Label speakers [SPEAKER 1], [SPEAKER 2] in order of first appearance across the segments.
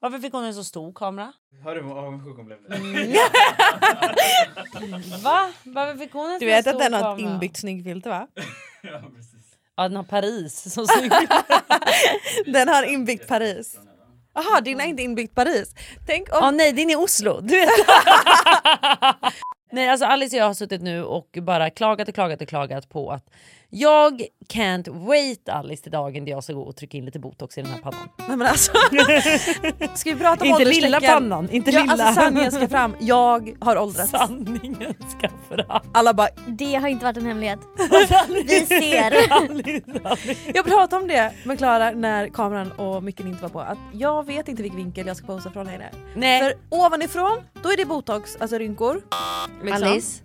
[SPEAKER 1] Varför fick hon en så stor kamera?
[SPEAKER 2] Hör du vad avundsjuk hon blev
[SPEAKER 3] Mm.
[SPEAKER 2] nu?
[SPEAKER 1] Va? Varför fick hon en så
[SPEAKER 4] Du vet
[SPEAKER 1] stor
[SPEAKER 4] att den har ett
[SPEAKER 1] kamera?
[SPEAKER 4] inbyggt snyggfilter va?
[SPEAKER 2] ja, precis.
[SPEAKER 1] Ja, den har Paris som snygg.
[SPEAKER 4] Den har inbyggt Paris. Jaha, din har inte inbyggt Paris. Tänk om...
[SPEAKER 1] Ja, nej, din är Oslo. Du vet. nej, alltså Alice och jag har suttit nu och bara klagat och klagat och klagat på att jag can't wait Alice till dagen där jag ska gå och trycka in lite botox i den här pannan.
[SPEAKER 4] Nej, men alltså. Ska vi prata om
[SPEAKER 1] Inte lilla
[SPEAKER 4] ålderstecken?
[SPEAKER 1] pannan, inte
[SPEAKER 4] Ja,
[SPEAKER 1] lilla.
[SPEAKER 4] alltså sanningen ska fram. Jag har åldrats.
[SPEAKER 1] Sanningen ska fram.
[SPEAKER 4] Alla bara,
[SPEAKER 5] Det har inte varit en hemlighet. Vi ser.
[SPEAKER 4] jag pratade om det med Klara när kameran och micken inte var på. Att jag vet inte vilken vinkel jag ska posa från längre.
[SPEAKER 1] Nej,
[SPEAKER 4] För ovanifrån, då är det botox, alltså rynkor. Liksom.
[SPEAKER 1] Alice.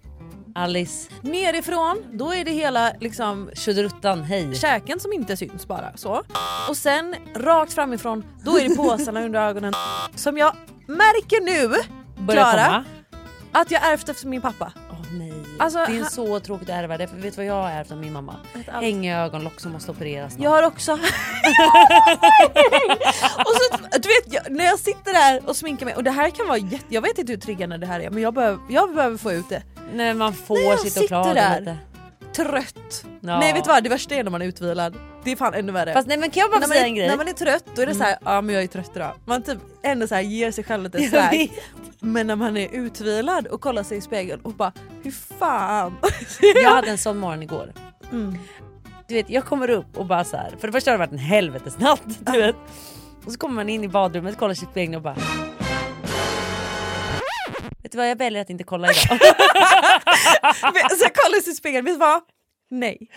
[SPEAKER 1] Alice.
[SPEAKER 4] Nerifrån, då är det hela liksom
[SPEAKER 1] Tjudruttan, hej.
[SPEAKER 4] käken som inte syns bara så. Och sen rakt framifrån, då är det påsarna under ögonen. Som jag märker nu
[SPEAKER 1] Börjar
[SPEAKER 4] Klara?
[SPEAKER 1] komma.
[SPEAKER 4] att jag ärvt efter min pappa.
[SPEAKER 1] Åh nej.
[SPEAKER 4] Alltså,
[SPEAKER 1] det är
[SPEAKER 4] han-
[SPEAKER 1] så tråkigt att ärva det. För vet du vad jag har ärvt av min mamma?
[SPEAKER 4] Vet allt.
[SPEAKER 1] Hängiga ögonlock som måste opereras.
[SPEAKER 4] Jag har också... och så, du vet, jag, när jag sitter där och sminkar mig och det här kan vara jätte... Jag vet inte hur triggande det här är men jag behöver, jag behöver få ut det.
[SPEAKER 1] Nej man
[SPEAKER 4] Nej,
[SPEAKER 1] får
[SPEAKER 4] jag
[SPEAKER 1] sitta och
[SPEAKER 4] sitter
[SPEAKER 1] klaga
[SPEAKER 4] där.
[SPEAKER 1] lite.
[SPEAKER 4] Trött.
[SPEAKER 1] Ja.
[SPEAKER 4] Nej vet du vad, det värsta är när man är utvilad. Det är fan ännu värre.
[SPEAKER 1] Fast nej men kan jag bara få
[SPEAKER 4] när, man
[SPEAKER 1] säga en
[SPEAKER 4] är,
[SPEAKER 1] grej? Mm.
[SPEAKER 4] när man är trött då är det så här, ja men jag är trött idag. Man typ ändå så här ger sig själv lite
[SPEAKER 1] Jag
[SPEAKER 4] slack.
[SPEAKER 1] vet.
[SPEAKER 4] Men när man är utvilad och kollar sig i spegeln och bara hur fan.
[SPEAKER 1] Jag hade en sån morgon igår. Mm. Du vet, jag kommer upp och bara så här. För det första har det varit en helvetesnatt. Du vet. Och så kommer man in i badrummet, kollar sig i spegeln och bara... Vet du vad, jag väljer att inte kolla idag.
[SPEAKER 4] så jag kollar sig i spegeln, vet du vad? Nej.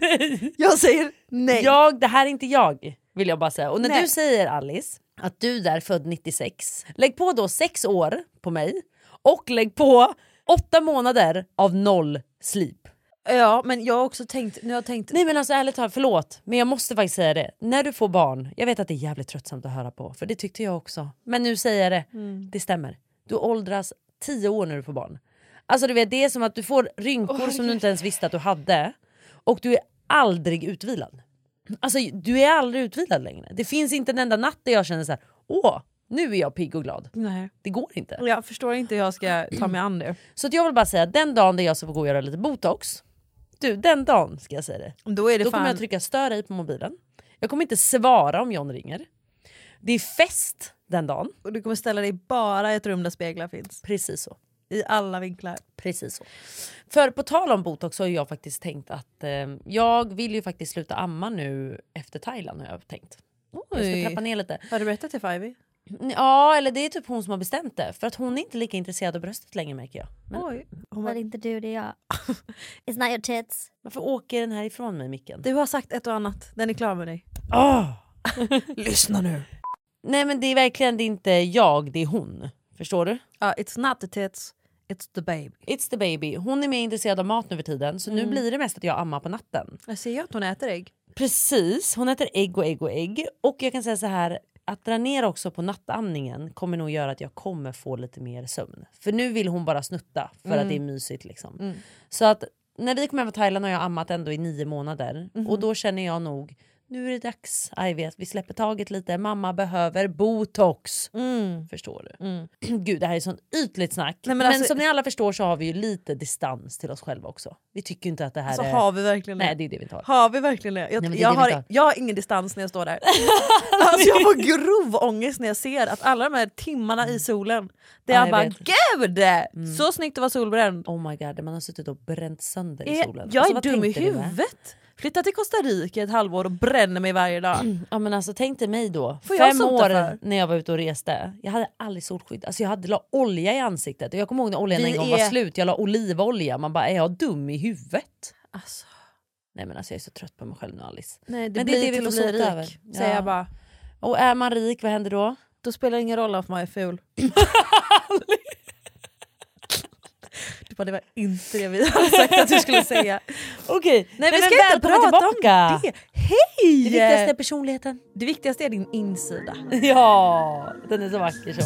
[SPEAKER 4] nej. Jag säger nej.
[SPEAKER 1] jag, det här är inte jag, vill jag bara säga. Och när
[SPEAKER 4] Nej.
[SPEAKER 1] du säger Alice, att du där är född 96, lägg på då sex år på mig och lägg på åtta månader av noll sleep.
[SPEAKER 4] Ja men jag har också tänkt, nu har jag tänkt
[SPEAKER 1] Nej men alltså ärligt talat, förlåt. Men jag måste faktiskt säga det. När du får barn, jag vet att det är jävligt tröttsamt att höra på, för det tyckte jag också. Men nu säger jag det, det stämmer. Du åldras tio år när du får barn. Alltså du vet, det är som att du får rynkor som du inte ens visste att du hade och du är aldrig utvilad. Alltså du är aldrig utvilad längre. Det finns inte en enda natt där jag känner så här: åh, nu är jag pigg och glad.
[SPEAKER 4] Nej.
[SPEAKER 1] Det går inte.
[SPEAKER 4] Jag förstår inte hur jag ska ta mig an det.
[SPEAKER 1] Så att jag vill bara säga, den dagen där jag ska få gå och göra lite botox, du den dagen ska jag säga det.
[SPEAKER 4] Då är det
[SPEAKER 1] Då
[SPEAKER 4] fan...
[SPEAKER 1] kommer jag trycka stör dig på mobilen. Jag kommer inte svara om John ringer. Det är fest den dagen.
[SPEAKER 4] och du kommer ställa dig bara i ett rum där speglar finns.
[SPEAKER 1] Precis så.
[SPEAKER 4] I alla vinklar.
[SPEAKER 1] Precis så. För på tal om botox så har jag faktiskt tänkt att eh, jag vill ju faktiskt sluta amma nu efter Thailand har jag tänkt. Jag ska trappa ner lite.
[SPEAKER 4] Har du berättat till Fivey?
[SPEAKER 1] Ja, eller det är typ hon som har bestämt det. För att hon är inte lika intresserad av bröstet längre märker jag. Men
[SPEAKER 4] Oj. Hon
[SPEAKER 5] Var
[SPEAKER 4] bara,
[SPEAKER 5] det inte du, det är jag. It's not your tits.
[SPEAKER 1] varför åker den här ifrån mig micken?
[SPEAKER 4] du har sagt ett och annat, den är klar med dig.
[SPEAKER 1] Åh!
[SPEAKER 4] Lyssna nu.
[SPEAKER 1] Nej men det är verkligen det är inte jag, det är hon. Förstår du?
[SPEAKER 4] Ja, it's not the tits, it's the baby.
[SPEAKER 1] It's the baby. Hon är mer intresserad av mat nu för tiden så nu blir det mest att jag ammar på natten.
[SPEAKER 4] Jag ser ju att hon äter ägg.
[SPEAKER 1] Precis, hon äter ägg och ägg och ägg. Och jag kan säga så här, att dra ner också på nattamningen kommer nog göra att jag kommer få lite mer sömn. För nu vill hon bara snutta för att det är mysigt liksom. Så att när vi kom hem från Thailand har jag ammat ändå i nio månader och då känner jag nog nu är det dags, Aj, vet, vi släpper taget lite, mamma behöver botox.
[SPEAKER 4] Mm.
[SPEAKER 1] Förstår du? Mm. Gud det här är sånt ytligt snack.
[SPEAKER 4] Nej, men
[SPEAKER 1] men
[SPEAKER 4] alltså-
[SPEAKER 1] som ni alla förstår så har vi ju lite distans till oss själva också. Vi tycker ju inte att det här
[SPEAKER 4] Så
[SPEAKER 1] är...
[SPEAKER 4] Alltså, har vi verkligen
[SPEAKER 1] Nej
[SPEAKER 4] det?
[SPEAKER 1] det är det vi inte har.
[SPEAKER 4] Har vi verkligen det? Jag,
[SPEAKER 1] Nej, men det är
[SPEAKER 4] jag,
[SPEAKER 1] det vi
[SPEAKER 4] har,
[SPEAKER 1] tar.
[SPEAKER 4] jag har ingen distans när jag står där. alltså jag får grov ångest när jag ser att alla de här timmarna i solen, det
[SPEAKER 1] Mm. Ja,
[SPEAKER 4] är
[SPEAKER 1] jag
[SPEAKER 4] bara
[SPEAKER 1] vet. Mm.
[SPEAKER 4] gud! Så snyggt att vara solbränd.
[SPEAKER 1] Oh my god, man har suttit och bränt sönder i
[SPEAKER 4] Är-
[SPEAKER 1] solen.
[SPEAKER 4] Jag
[SPEAKER 1] Alltså,
[SPEAKER 4] är
[SPEAKER 1] vad
[SPEAKER 4] dum i
[SPEAKER 1] tänkte du med?
[SPEAKER 4] huvudet. Flytta till Costa Rica ett halvår och bränner mig varje dag.
[SPEAKER 1] Ja, men alltså, tänk dig mig då,
[SPEAKER 4] Får jag
[SPEAKER 1] fem
[SPEAKER 4] sota
[SPEAKER 1] år
[SPEAKER 4] för?
[SPEAKER 1] när jag var ute och reste. Jag hade aldrig solskydd. Alltså, jag hade la olja i ansiktet. Och jag kommer ihåg när oljan
[SPEAKER 4] Vi
[SPEAKER 1] en gång
[SPEAKER 4] är-
[SPEAKER 1] var slut. Jag la olivolja. Man bara, är jag dum i huvudet?
[SPEAKER 4] Alltså,
[SPEAKER 1] Nej men alltså jag är så trött på mig själv nu Alice.
[SPEAKER 4] nej, det
[SPEAKER 1] Men det
[SPEAKER 4] blir
[SPEAKER 1] är det vi
[SPEAKER 4] till att
[SPEAKER 1] får
[SPEAKER 4] bli
[SPEAKER 1] sota
[SPEAKER 4] rik,
[SPEAKER 1] över.
[SPEAKER 4] säger
[SPEAKER 1] Ja.
[SPEAKER 4] jag bara.
[SPEAKER 1] Och är man rik, vad händer då?
[SPEAKER 4] Då spelar det ingen roll om man är ful. du bara, det var inte det vi hade sagt att du skulle säga.
[SPEAKER 1] Okej,
[SPEAKER 4] Nej, vi ska inte prata om det. Hej!
[SPEAKER 1] Det viktigaste är personligheten.
[SPEAKER 4] det viktigaste är din insida.
[SPEAKER 1] Ja, den är så vacker så.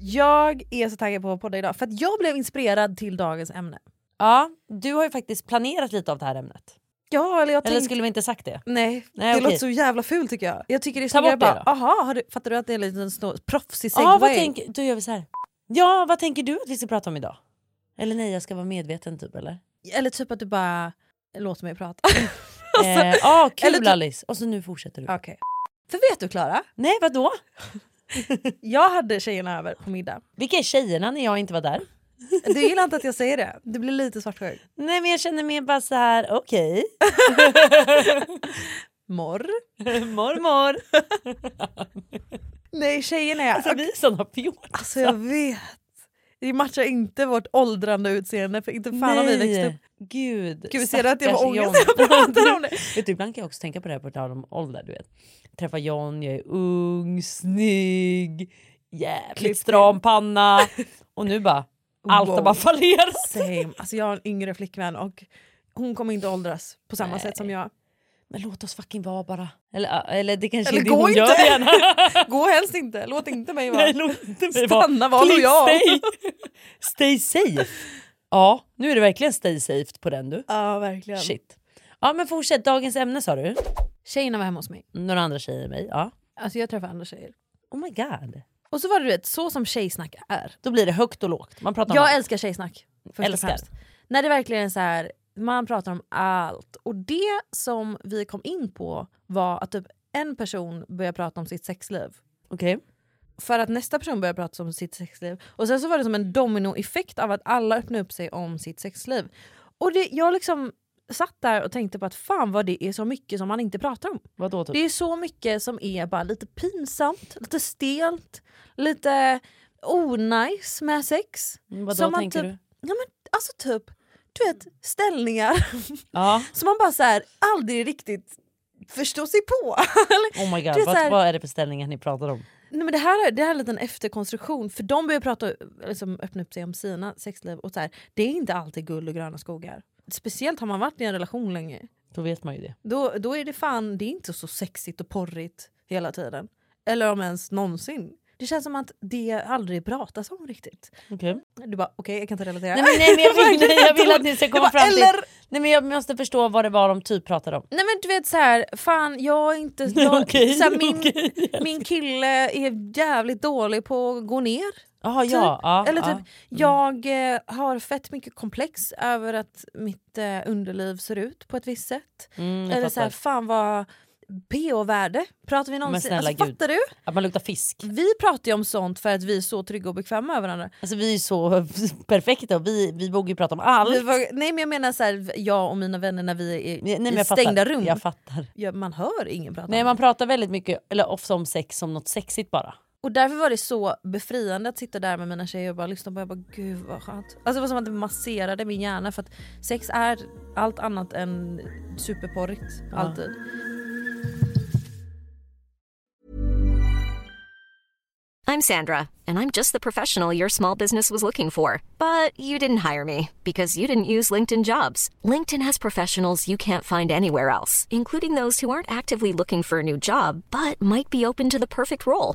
[SPEAKER 4] jag är så taggad på att podda idag för att jag blev inspirerad till dagens ämne.
[SPEAKER 1] Ja, du har ju faktiskt planerat lite av det här ämnet.
[SPEAKER 4] Ja, eller
[SPEAKER 1] Eller
[SPEAKER 4] jag tänkte...
[SPEAKER 1] skulle vi inte sagt det?
[SPEAKER 4] Nej,
[SPEAKER 1] Nej,
[SPEAKER 4] det
[SPEAKER 1] okej.
[SPEAKER 4] låter så jävla fult tycker jag. Jag tycker det är
[SPEAKER 1] Ta
[SPEAKER 4] så
[SPEAKER 1] bort
[SPEAKER 4] jag bara,
[SPEAKER 1] det då.
[SPEAKER 4] aha, har du, fattar du att det är en liten snor, proffsig segway?
[SPEAKER 1] Ja, vad tänk, då gör vi så här. Ja, vad tänker du att vi ska prata om idag? Eller nej, jag ska vara medveten typ eller?
[SPEAKER 4] Eller typ att du bara, låt mig prata.
[SPEAKER 1] Ja, eh, ah, kul
[SPEAKER 4] eller typ-
[SPEAKER 1] Alice! Och så nu fortsätter du.
[SPEAKER 4] Okej. För vet du Klara,
[SPEAKER 1] Nej, vadå?
[SPEAKER 4] jag hade tjejerna över på middag.
[SPEAKER 1] Vilka är tjejerna när jag inte var där?
[SPEAKER 4] Du gillar inte att jag säger det, du blir lite svartsjuk.
[SPEAKER 1] Nej, men jag känner mig bara så här, okej.
[SPEAKER 4] Morr.
[SPEAKER 1] Mormor!
[SPEAKER 4] Nej tjejerna är...
[SPEAKER 1] Alltså, vi är såna fjortisar.
[SPEAKER 4] Alltså jag vet. Det matchar inte vårt åldrande utseende för inte fan har vi växt upp.
[SPEAKER 1] Gud,
[SPEAKER 4] Gud ser du att jag var
[SPEAKER 1] stackars
[SPEAKER 4] ångest när jag pratade om det?
[SPEAKER 1] Vet du, typ, ibland kan jag också tänka på det här på tal om ålder. Du vet. Träffa John, jag är ung, snygg,
[SPEAKER 4] Klipp in.
[SPEAKER 1] jävligt stram panna. Och nu bara, allt har
[SPEAKER 4] Wow.
[SPEAKER 1] bara fallerat.
[SPEAKER 4] Same. Alltså jag har en yngre flickvän och hon kommer inte åldras på samma
[SPEAKER 1] Nej.
[SPEAKER 4] sätt som jag.
[SPEAKER 1] Men låt oss fucking vara bara. Eller, eller det kanske
[SPEAKER 4] Eller
[SPEAKER 1] är det
[SPEAKER 4] gå
[SPEAKER 1] hon
[SPEAKER 4] inte.
[SPEAKER 1] gör det gärna.
[SPEAKER 4] Gå helst inte, låt inte mig vara.
[SPEAKER 1] Nej, låt inte mig vara.
[SPEAKER 4] Stanna, var
[SPEAKER 1] Please
[SPEAKER 4] lojal.
[SPEAKER 1] Stay. stay safe. Ja, nu är det verkligen stay safe på den du.
[SPEAKER 4] Ja verkligen.
[SPEAKER 1] Shit. Ja men fortsätt, dagens ämne sa du.
[SPEAKER 4] Tjejerna var hemma hos mig.
[SPEAKER 1] Några andra tjejer än mig. Ja.
[SPEAKER 4] Alltså jag träffar andra tjejer.
[SPEAKER 1] Oh my god.
[SPEAKER 4] Och så var det du vet, så som tjejsnack är.
[SPEAKER 1] Då blir det högt och lågt. Man pratar om
[SPEAKER 4] Jag
[SPEAKER 1] allt.
[SPEAKER 4] älskar tjejsnack. Först
[SPEAKER 1] Älskar.
[SPEAKER 4] Och främst. När det verkligen är så här, man pratar om allt. Och det som vi kom in på var att typ en person började prata om sitt sexliv.
[SPEAKER 1] Okej.
[SPEAKER 4] För att nästa person började prata om sitt sexliv. Och sen så var det som en dominoeffekt av att alla öppnade upp sig om sitt sexliv. Och det, jag liksom satt där och tänkte på att fan vad det är så mycket som man inte pratar om.
[SPEAKER 1] Vadå typ?
[SPEAKER 4] Det är så mycket som är bara lite pinsamt, lite stelt, lite onajs med sex.
[SPEAKER 1] Mm, Vadå
[SPEAKER 4] som man
[SPEAKER 1] tänker
[SPEAKER 4] typ-
[SPEAKER 1] du?
[SPEAKER 4] Ja men alltså typ, du vet ställningar
[SPEAKER 1] Ja.
[SPEAKER 4] som man bara så här, aldrig riktigt förstår sig på.
[SPEAKER 1] Oh my god,
[SPEAKER 4] Det är så
[SPEAKER 1] vad,
[SPEAKER 4] här-
[SPEAKER 1] vad är det för ställningar ni pratar om?
[SPEAKER 4] Nej, men det, här är, det här är en liten efterkonstruktion för de börjar prata, liksom, öppna upp sig om sina sexliv och så här, det är inte alltid guld och gröna skogar. Speciellt har man varit i en relation länge.
[SPEAKER 1] Då vet man ju det.
[SPEAKER 4] Då, då är det fan, det är inte så sexigt och porrigt hela tiden. Eller om ens någonsin. Det känns som att det aldrig pratas om riktigt.
[SPEAKER 1] Okej.
[SPEAKER 4] Du bara okej jag kan inte relatera.
[SPEAKER 1] Nej, men, nej, men jag, vill, nej, jag vill att ni ska
[SPEAKER 4] Jag
[SPEAKER 1] komma
[SPEAKER 4] bara,
[SPEAKER 1] fram till...
[SPEAKER 4] eller
[SPEAKER 1] Nej, men jag måste förstå vad det var de typ pratade om.
[SPEAKER 4] Nej men du vet så här, fan jag är inte... Alltså, Jag,
[SPEAKER 1] Okej,
[SPEAKER 4] så här, min,
[SPEAKER 1] okej.
[SPEAKER 4] min kille är jävligt dålig på att gå ner.
[SPEAKER 1] Jaha,
[SPEAKER 4] typ.
[SPEAKER 1] ja. ja,
[SPEAKER 4] Eller
[SPEAKER 1] ja. Mm.
[SPEAKER 4] typ, jag eh, har fett mycket komplex över att mitt eh, underliv ser ut på ett visst sätt.
[SPEAKER 1] Mm, jag
[SPEAKER 4] Eller så
[SPEAKER 1] fattar.
[SPEAKER 4] här, fan vad PO-värde pratar vi någonsin...
[SPEAKER 1] snälla
[SPEAKER 4] Alltså,
[SPEAKER 1] gud.
[SPEAKER 4] fattar du?
[SPEAKER 1] Att man luktar fisk.
[SPEAKER 4] Vi pratar ju om sånt för att vi är så trygga och bekväma med varandra.
[SPEAKER 1] Alltså vi är så perfekta och vi, vi vågar ju prata om allt.
[SPEAKER 4] Vi var, nej men jag menar så här, jag och mina vänner när vi är
[SPEAKER 1] Nej, men
[SPEAKER 4] i
[SPEAKER 1] jag fattar.
[SPEAKER 4] stängda rum.
[SPEAKER 1] Jag fattar.
[SPEAKER 4] Ja, man hör ingen prata
[SPEAKER 1] Nej
[SPEAKER 4] om det.
[SPEAKER 1] man pratar väldigt mycket, eller ofta om sex som något sexigt bara.
[SPEAKER 4] Och därför var det så befriande att sitta där med mina tjejer och bara lyssna på. Jag bara gud vad skönt. Alltså det var som att det masserade min hjärna för att sex är allt annat än superporrigt.
[SPEAKER 1] Ja.
[SPEAKER 4] Alltid.
[SPEAKER 6] I'm Sandra, and I'm just the professional your small business was looking for. But you didn't hire me because you didn't use LinkedIn jobs. LinkedIn has professionals you can't find anywhere else, including those who aren't actively looking for a new job but might be open to the perfect role,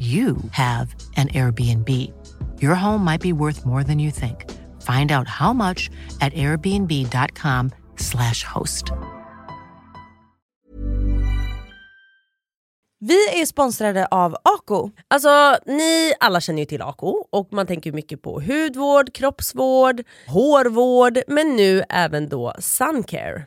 [SPEAKER 7] you have an Airbnb. Your home might be worth more than you think. Find out how much at airbnb.com/slash host.
[SPEAKER 4] Vi är sponsrade av Ako.
[SPEAKER 1] Alltså ni alla känner ju till Ako och man tänker ju mycket på hudvård, kroppsvård, hårvård men nu även då suncare.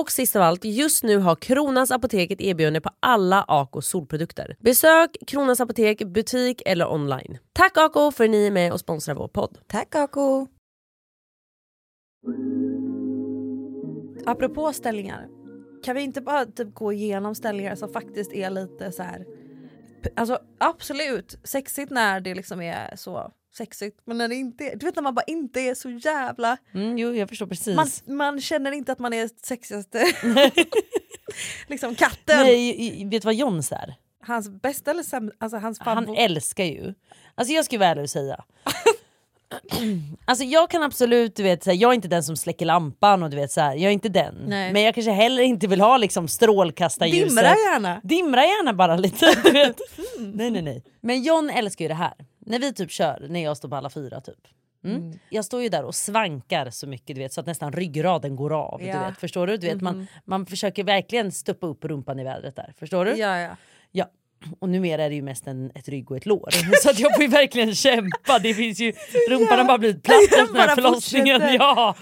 [SPEAKER 1] Och sist av allt, just nu har Kronans Apotek ett erbjudande på alla Ako solprodukter. Besök Kronans Apotek, butik eller online. Tack Ako för att ni är med och sponsrar vår podd.
[SPEAKER 4] Tack Ako! Apropå ställningar, kan vi inte bara typ gå igenom ställningar som faktiskt är lite så här. Alltså absolut sexigt när det liksom är så sexigt men när det inte är, du vet när man bara inte är så jävla
[SPEAKER 1] Mm, jo, jag förstår precis.
[SPEAKER 4] Man, man känner inte att man är sexigaste liksom katten.
[SPEAKER 1] Nej, i- i- vet du vad Johns är?
[SPEAKER 4] Hans bästa eller sämsta, alltså hans
[SPEAKER 1] Han
[SPEAKER 4] favvo.
[SPEAKER 1] älskar ju. Alltså jag ska vara ärlig och säga. Alltså jag kan absolut, du vet, så här, jag är inte den som släcker lampan och du vet så här, jag är inte den.
[SPEAKER 4] Nej.
[SPEAKER 1] Men jag kanske heller inte vill ha liksom strålkastarljuset.
[SPEAKER 4] Dimra gärna. Mm.
[SPEAKER 1] Dimra gärna bara lite. Du vet. nej nej nej. Men John älskar ju det här. När vi typ kör, när jag står på alla fyra typ. Mm. Jag står ju där och svankar så mycket du vet så att nästan ryggraden går av.
[SPEAKER 4] Ja. Mhm.
[SPEAKER 1] Du vet, förstår du? du vet, man, man försöker verkligen stoppa upp rumpan i vädret där. Förstår du?
[SPEAKER 4] Ja, ja.
[SPEAKER 1] Ja. Och numera är det ju mest en, ett rygg och ett lår. Så att jag får ju verkligen kämpa. Det finns ju, rumpan har bara blivit platt efter den
[SPEAKER 4] Bara
[SPEAKER 1] här förlossningen.
[SPEAKER 4] fortsätter.
[SPEAKER 1] Ja.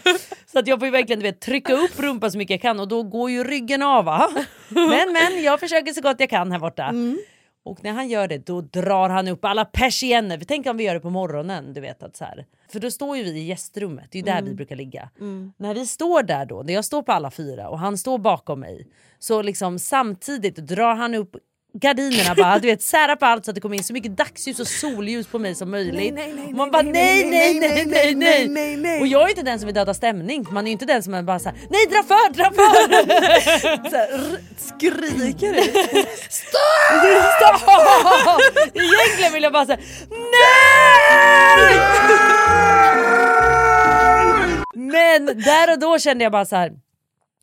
[SPEAKER 1] Så att jag får ju verkligen du vet, trycka upp rumpan så mycket jag kan och då går ju ryggen av. Va? Men men, jag försöker så gott jag kan här borta.
[SPEAKER 4] Mm.
[SPEAKER 1] Och när han gör det då drar han upp alla persienner. För Tänk om vi gör det på morgonen. du vet att så här. För då står ju vi i gästrummet, det är ju
[SPEAKER 4] Mm.
[SPEAKER 1] där vi brukar ligga. När vi står där då, när jag står på alla fyra och han står bakom mig. Så liksom samtidigt drar han upp gardinerna bara, du vet sära på allt så att det kommer in så mycket dagsljus och solljus på mig som möjligt.
[SPEAKER 4] Nej, nej, nej,
[SPEAKER 1] och man
[SPEAKER 4] nej,
[SPEAKER 1] bara
[SPEAKER 4] nej,
[SPEAKER 1] nej nej nej nej nej
[SPEAKER 4] nej, nej.
[SPEAKER 1] Och jag är ju inte den som vill döda stämning. Man är ju inte den som är bara såhär nej dra för, dra för!
[SPEAKER 4] Så här, r- skriker du?
[SPEAKER 1] Stopp! Egentligen vill jag bara säga NEJ! Men där och då kände jag bara så här.